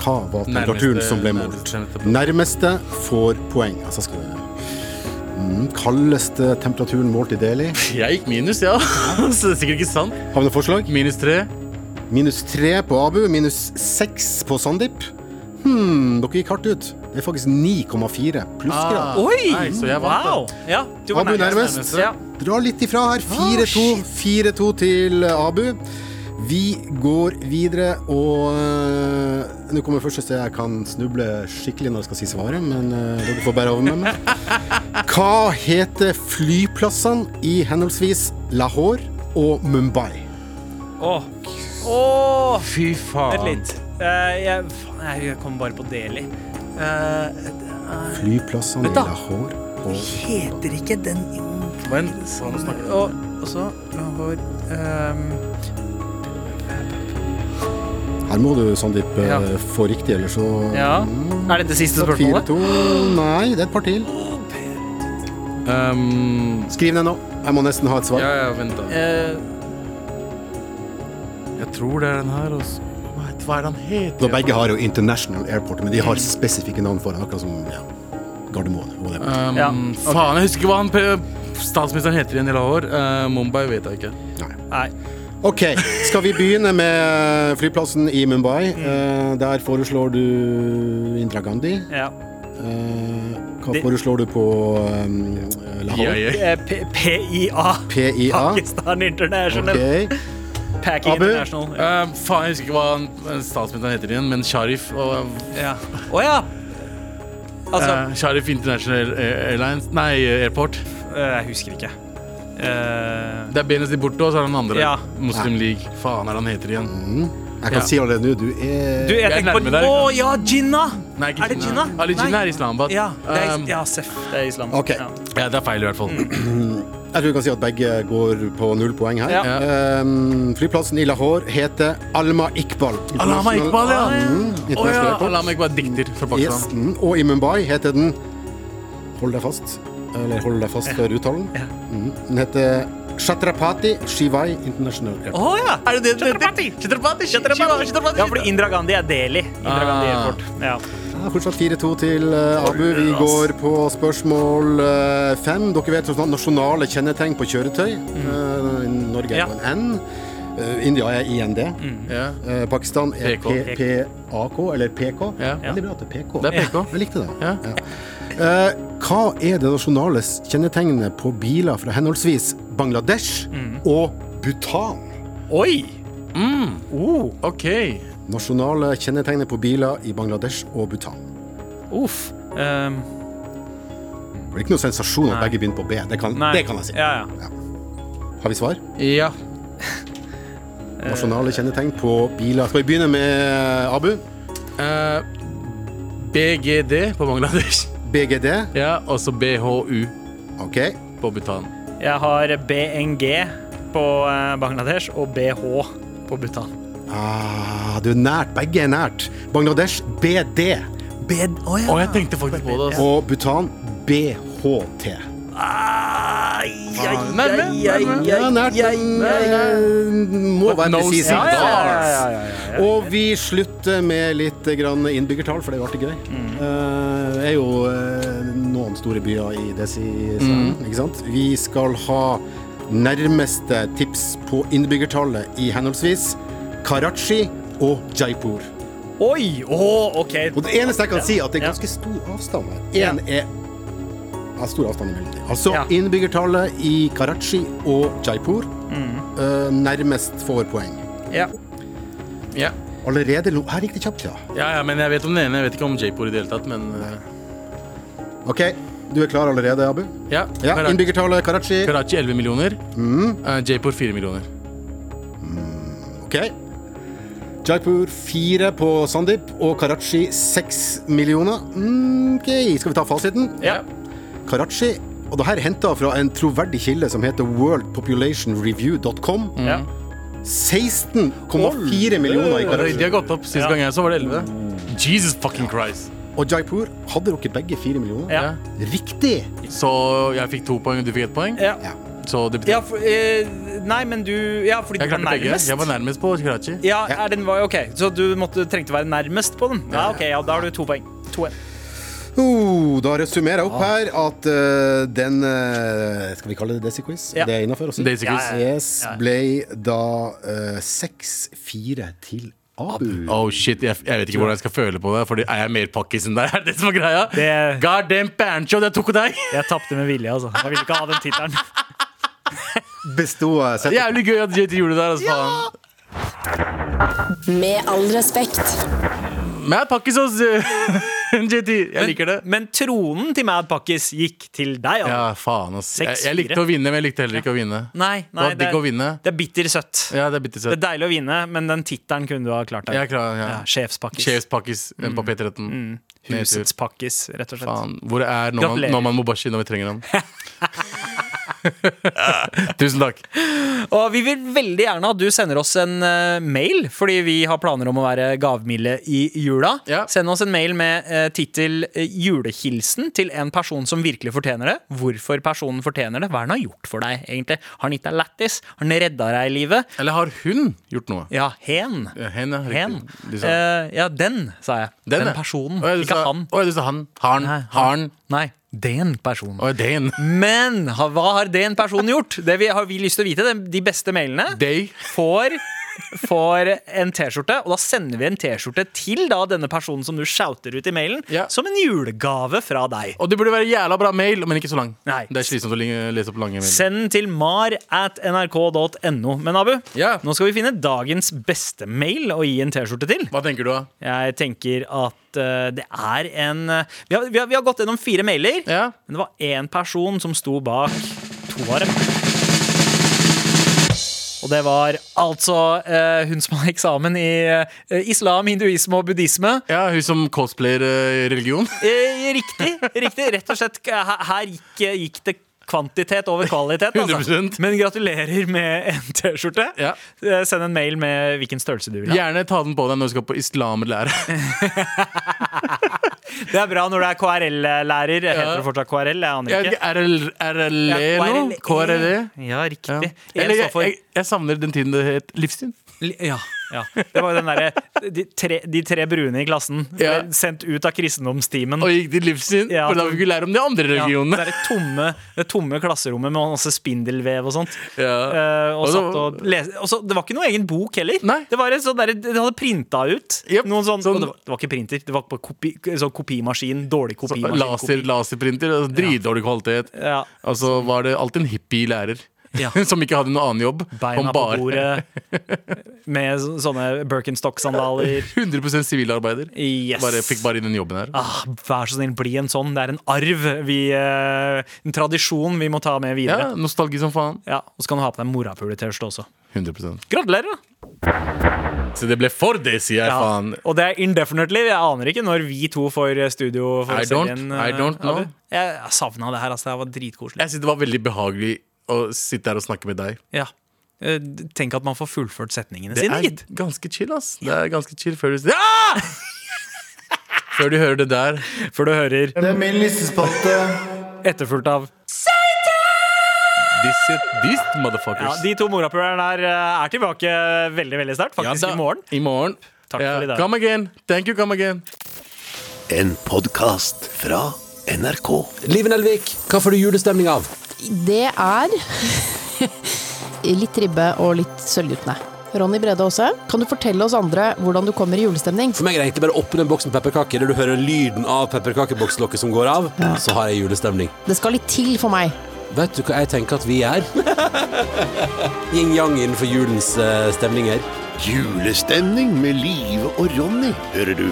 Hva var temperaturen som ble målt?
nærmeste-
Nærmeste får poeng. Altså skal vi mm, Kaldeste temperaturen målt i Delhi.
Jeg gikk minus, ja. Så det er sikkert ikke sant.
Har vi noe forslag?
Minus tre.
Minus tre på Abu, minus seks på Sandeep. Hmm, dere gikk hardt ut. Det er faktisk 9,4 plussgrad.
Oi!
Nei, så jeg vant,
wow! Ja, du var
Abu nærmest.
Ja.
Dra litt ifra her. 4-2 4-2 til Abu. Vi går videre, og øh, Nå kommer første sted jeg kan snuble skikkelig når jeg skal si svaret, men øh, dere får bære over med meg. Hva heter flyplassene i henholdsvis Lahore og Mumbai?
Åh. Åh,
Fy
Vent
faen.
litt. Eh, jeg, faen, jeg- jeg kom bare på Deli. Eh, det
Flyplassene i
Vent da.
Lahore og
heter ikke den i-
Men faen, nå snakker
Og og så Lahore ehm,
Her må du, Sandeep, eh,
Ja.
få riktig, eller så
Ja. Er det det siste spørsmålet?
4-2. Nei, det er et par til.
vi. Um,
Skriv ned nå. Jeg må nesten ha et svar.
ja, ja, vent da.
Eh,
Jeg tror det er den her, altså. Hva er- Hva er det han
Så
heter?
begge har jo International Airport, men de har spesifikke navn foran, akkurat som ja, Gardermoen. og det.
Um,
Ja, ok.
Faen, jeg husker ikke hva han pre- statsministeren heter igjen i Lahore. Eh, Mumbai vet jeg ikke.
nei.
Ok, skal vi begynne med flyplassen i Mumbai?
Mm.
Eh, der foreslår du Indra Gandhi.
Ja.
Eh, hva
Det-
foreslår du på eh, Lahore?
Jeg- jeg-
Eh, P- PIA.
PIA.
Pakistan International.
Ok.
Paki
Abu?
International. Ja.
Eh, faen, jeg husker ikke hva han, eh, statsministeren heter igjen, men Sharif og
ja. Å ja! Altså
eh, Sharif International Air- Airlines Nei, Airport.
eh, Jeg husker ikke. Eh,
Det er Benazir Bhutto, og så er det den andre.
Ja.
Muslim League. Faen, er han heter igjen?
Jeg
Ja.
kan si allerede nå, du
du,
er
jeg
Jeg er
tenker på
nærme
Å
der.
ja, Jinnah!
Nei, ikke
Er det
Jinnah.
Jinnah?
Ali
Nei.
Jinnah er Islamabad.
Ja, det er,
Um,
ja, seff. Det er islam.
Ok.
Ja.
Mm. ja, det er feil i hvert fall.
Jeg tror vi kan si at begge går på null poeng her.
Ja.
Ehm, flyplassen i Lahore heter Alma Iqbal.
Alama Iqbal, ja.
Mm,
Å ja.
international airport.
Alama Iqbal, dikter fra Pakistan.
Yes. Mm, og i Mumbai heter den Hold deg fast. Eller hold deg fast for uttalen. Mm. Den heter Shatrapati Shivai International Airport.
Å ja!
Er det det den
Chhatrapati.
heter? Chhatrapati, Chhatrapati, Chhatrapati.
Ja, fordi Indra Gandhi er Delhi. Indra Gandhi
Ah.
Airport. Ja.
Ja, Fortsatt 4-2 til eh, Abu. Vi går på spørsmål eh, fem. Dere vet sånn nasjonale kjennetegn på kjøretøy.
Mm.
Eh, Norge er
Ja.
jo en N. Eh, India er IND.
Ja.
Eh, Pakistan er
PK.
P- PAK, eller PK.
Ja.
Veldig bra at det er PK.
Det er PK.
Jeg likte det.
Ja.
Eh, hva er det nasjonale kjennetegnet på biler fra henholdsvis Bangladesh og Bhutan?
Oi!
Mm.
Oh,
OK.
Nasjonale kjennetegnet på biler i Bangladesh og Bhutan.
uff. Um,
Det blir ikke noe sensasjon at
Nei.
begge begynner på B. Det kan,
nei.
det kan jeg si.
Ja, ja.
Har vi svar?
Ja.
Nasjonale kjennetegn på biler. Skal vi begynne med Abu?
Eh, BGD på Bangladesh.
BGD.
Ja, og så BHU
OK.
på Bhutan.
Jeg har BNG på eh, Bangladesh og BH på Bhutan.
Ah, du er nært. Begge er nært. Bangladesh BD
Bed... Å
Å, jeg tenkte faktisk på det. Altså.
og Bhutan BHT.
Nærme, nærme.
Ja, nært, men eh, må
But
være
no
presis.
cigars.
Ja, ja, ja, ja, ja, ja. Og vi slutter med litt grann innbyggertall, for det er alltid gøy. Eh, Det er jo eh, noen store byer i Desi-sfæren, ikke sant? Vi skal ha nærmeste tips på innbyggertallet i henholdsvis Karachi og Jaipur.
Oi! Å, OK.
Og det eneste jeg kan si, er at det er
Ja.
ganske stor avstand her. Én er ja, stor avstand imellom dem. Altså
Ja.
innbyggertallet i Karachi og Jaipur eh, nærmest får poeng.
Ja.
Ja.
Allerede lo Her gikk det kjapt, ja.
ja, ja, men jeg vet om den ene. Jeg vet ikke om Jaipur i det hele tatt, men eh,
OK, du er klar allerede, Abu?
ja.
Ja, Mm.
Kara-
Innbyggertallet Karachi.
Karachi 11 millioner. Eh, Jaipur 4 millioner.
OK. Jaipur fire på Sandeep og Karachi seks millioner. Mm, OK, skal vi ta fasiten?
Ja.
Karachi. Og det her er henta fra en troverdig kilde som heter worldpopulationreview.com.
ja.
16,4 millioner i
De
Karachi. Mm.
har gått opp. Sist
Ja.
gang jeg så, var det 11. Jesus fucking Christ.
Og Jaipur hadde dere begge 4 millioner.
Ja.
Ja.
Riktig!
Så jeg fikk to poeng, og du fikk ett poeng.
Ja.
Ja.
Så det betyr
Ja, for, eh, nei, men du Ja, fordi
Jeg
du var
klarte begge.
nærmest.
Jeg var nærmest på Karachi.
Ja, er den, var- ok, Så du måtte, trengte være nærmest på den? Ja, ok, ja, Da har du to poeng. To poeng.
Oh, da resummerer jeg opp her at eh, den eh, Skal vi kalle det Desi-quiz?
Ja.
Det er innafor å si.
Daisy Quiz.
Ja,
Yes, ble da eh, 6-4 til Abu.
Oh shit, jeg, jeg vet ikke hvordan jeg skal føle på det. Fordi Er jeg mer pakkis enn deg? Er det det som er greia?
Det-
God damn Pancho, jeg tok deg!
Jeg tapte med vilje, altså. Jeg ville ikke ha den tittelen.
Besto eh, sett-
Jævlig gøy at JT gjorde det der. Altså, faen.
Med all respekt.
Men jeg er pakkis hos eh, JT. Jeg liker det.
Men tronen til Mad Pakkis gikk til deg, altså.
Ja, faen, ass. Jeg, jeg
6-4.
likte å vinne, men jeg likte heller ikke å vinne.
Nei,
Det
nei,
var digg å vinne.
det er bitter søtt.
Ja, det er bitte
Det er
søtt.
deilig å vinne, men den tittelen kunne du ha klart deg.
Jeg er klar, ja.
Ja, Sjefspakkis.
Sjefspakkis eh, på P13. Nedtur.
Mm. Husets pakkis, rett og slett.
Faen, hvor er Noman,
Gratulerer.
Noman Mubashi når vi trenger ham? Tusen takk.
Og vi vil veldig gjerne at du sender oss en eh, mail, fordi vi har planer om å være gavmilde i jula.
Ja.
Send oss en mail med uh, tittel eh, 'Julehilsen' til en person som virkelig fortjener det. Hvorfor personen fortjener det. Hva er det han har gjort for deg, egentlig? Har han gitt deg lættis? Har han redda deg i livet?
Eller har hun gjort noe?
Ja, hen.
Ja, Hen, ja. riktig.
Hen.
De sa-
Eh, ja, den, sa jeg. Den,
ja.
personen.
Å, ja, du
Ikke
sa-
han.
Å, ja, du sa han. Harn.
Nei,
Harn.
Nei, den personen.
Å, ja, det er en.
Men ha- hva har den personen gjort? Det vi, har vi lyst til å vite. De- De beste mailene
Day.
får, får en T-skjorte, og da sender vi en T-skjorte til da, denne personen som du shouter ut i mailen,
Ja.
som en julegave fra deg.
Og det burde være jævla bra mail, men ikke så lang.
Nei.
Det er slitsomt å li- lese opp lange mail.
Send den til mar at nrk.no. Men Abu,
Ja.
nå skal vi finne dagens beste mail å gi en T-skjorte til.
Hva tenker du, da?
Jeg tenker at eh, det er en eh, vi, har, vi, har, vi har gått gjennom fire mailer,
Ja.
men det var én person som sto bak to av dem. Og det var altså eh, hun som har eksamen i eh, islam, hinduisme og buddhisme.
Ja, hun som cosplayer eh, religion.
Eh, riktig, riktig. Rett og slett. Her, her gikk, gikk det kvantitet over kvalitet. Altså.
100%.
Men gratulerer med en T-skjorte.
Ja.
Eh, Send en mail med hvilken størrelse du vil ha.
Gjerne ta den på deg når du skal på islamlære.
Det er bra når du er KRL-lærer. Heter det fortsatt KRL? Jeg aner ikke.
RL, RLE E nå?
E?
KRLE?
Ja,
Ja.
riktig.
Eller,
Eller,
jeg, jeg, jeg savner den tiden det het livssyn.
ja, ja. Det var jo den derre de, tre- de tre brune i klassen.
Ja.
ble Sendt ut av kristendomstimen.
Og gikk til livssyn,
Ja.
for da fikk vi lære om de andre
Ja,
religionene.
det er det tomme, det tomme klasserommet med masse spindelvev og sånt.
Ja.
Eh, og
Og så-
satt og lese. Og så, det var ikke noe egen bok heller.
Nei.
Det var en sånn der, De hadde printa ut.
Jep,
Noen sånn,
sånn-
og det, var, det var ikke printer, det var på kopi, sånn kopimaskin. Dårlig kopimaskin.
Laser,
kopi.
laserprinter. Altså, Dritdårlig kvalitet.
Ja.
Og så var det alltid en hippie lærer
Ja.
som ikke hadde noen annen jobb.
Beina
Han
på
bare-
bordet med så- sånne Birkenstock-sandaler.
100 sivilarbeider.
Yes.
Bare, fikk bare inn den jobben her.
Ah, vær så snill, bli en sånn. Det er en arv. Vi, eh, en tradisjon vi må ta med
Ja,
videre.
Nostalgi som faen.
Ja, Og så kan du ha på deg morapuletørste også.
100
Gratulerer, da!
Så det ble for det, sier jeg,
Ja,
faen.
Og det er indefinitely. Jeg aner ikke når vi to får eh, studio. For
I don't-
serien,
I don't
eh,
know.
Abu. Jeg savna det her. altså Det her var dritkoselig.
Jeg synes Det var veldig behagelig å sitte her og snakke med deg.
Ja. Eh, Tenk at man får fullført setningene
Det
sine,
er
gitt.
ganske chill, ass. Det er ganske chill før du ja! Før du hører det der.
Før du hører
Det er min listespalte.
etterfulgt av
This, it, this
ja,
motherfuckers.
De to morapulerne her eh, er tilbake veldig veldig sterkt, faktisk
da.
i morgen.
I morgen.
Takk for i dag.
Come again. Thank you, come again.
En podkast fra NRK.
Liven Elvik, hva får du julestemning av?
Det er litt ribbe og litt sølvguttene. Ronny Brede Aase, kan du fortelle oss andre hvordan du kommer i julestemning?
For meg er det egentlig bare å åpne en boks med pepperkaker, der du hører lyden av pepperkakebokslokket som går av, så har jeg julestemning.
Det skal litt til for meg.
Vet du hva jeg tenker at vi er? Yin-yang innenfor julens eh, stemninger.
Julestemning med Live og Ronny hører du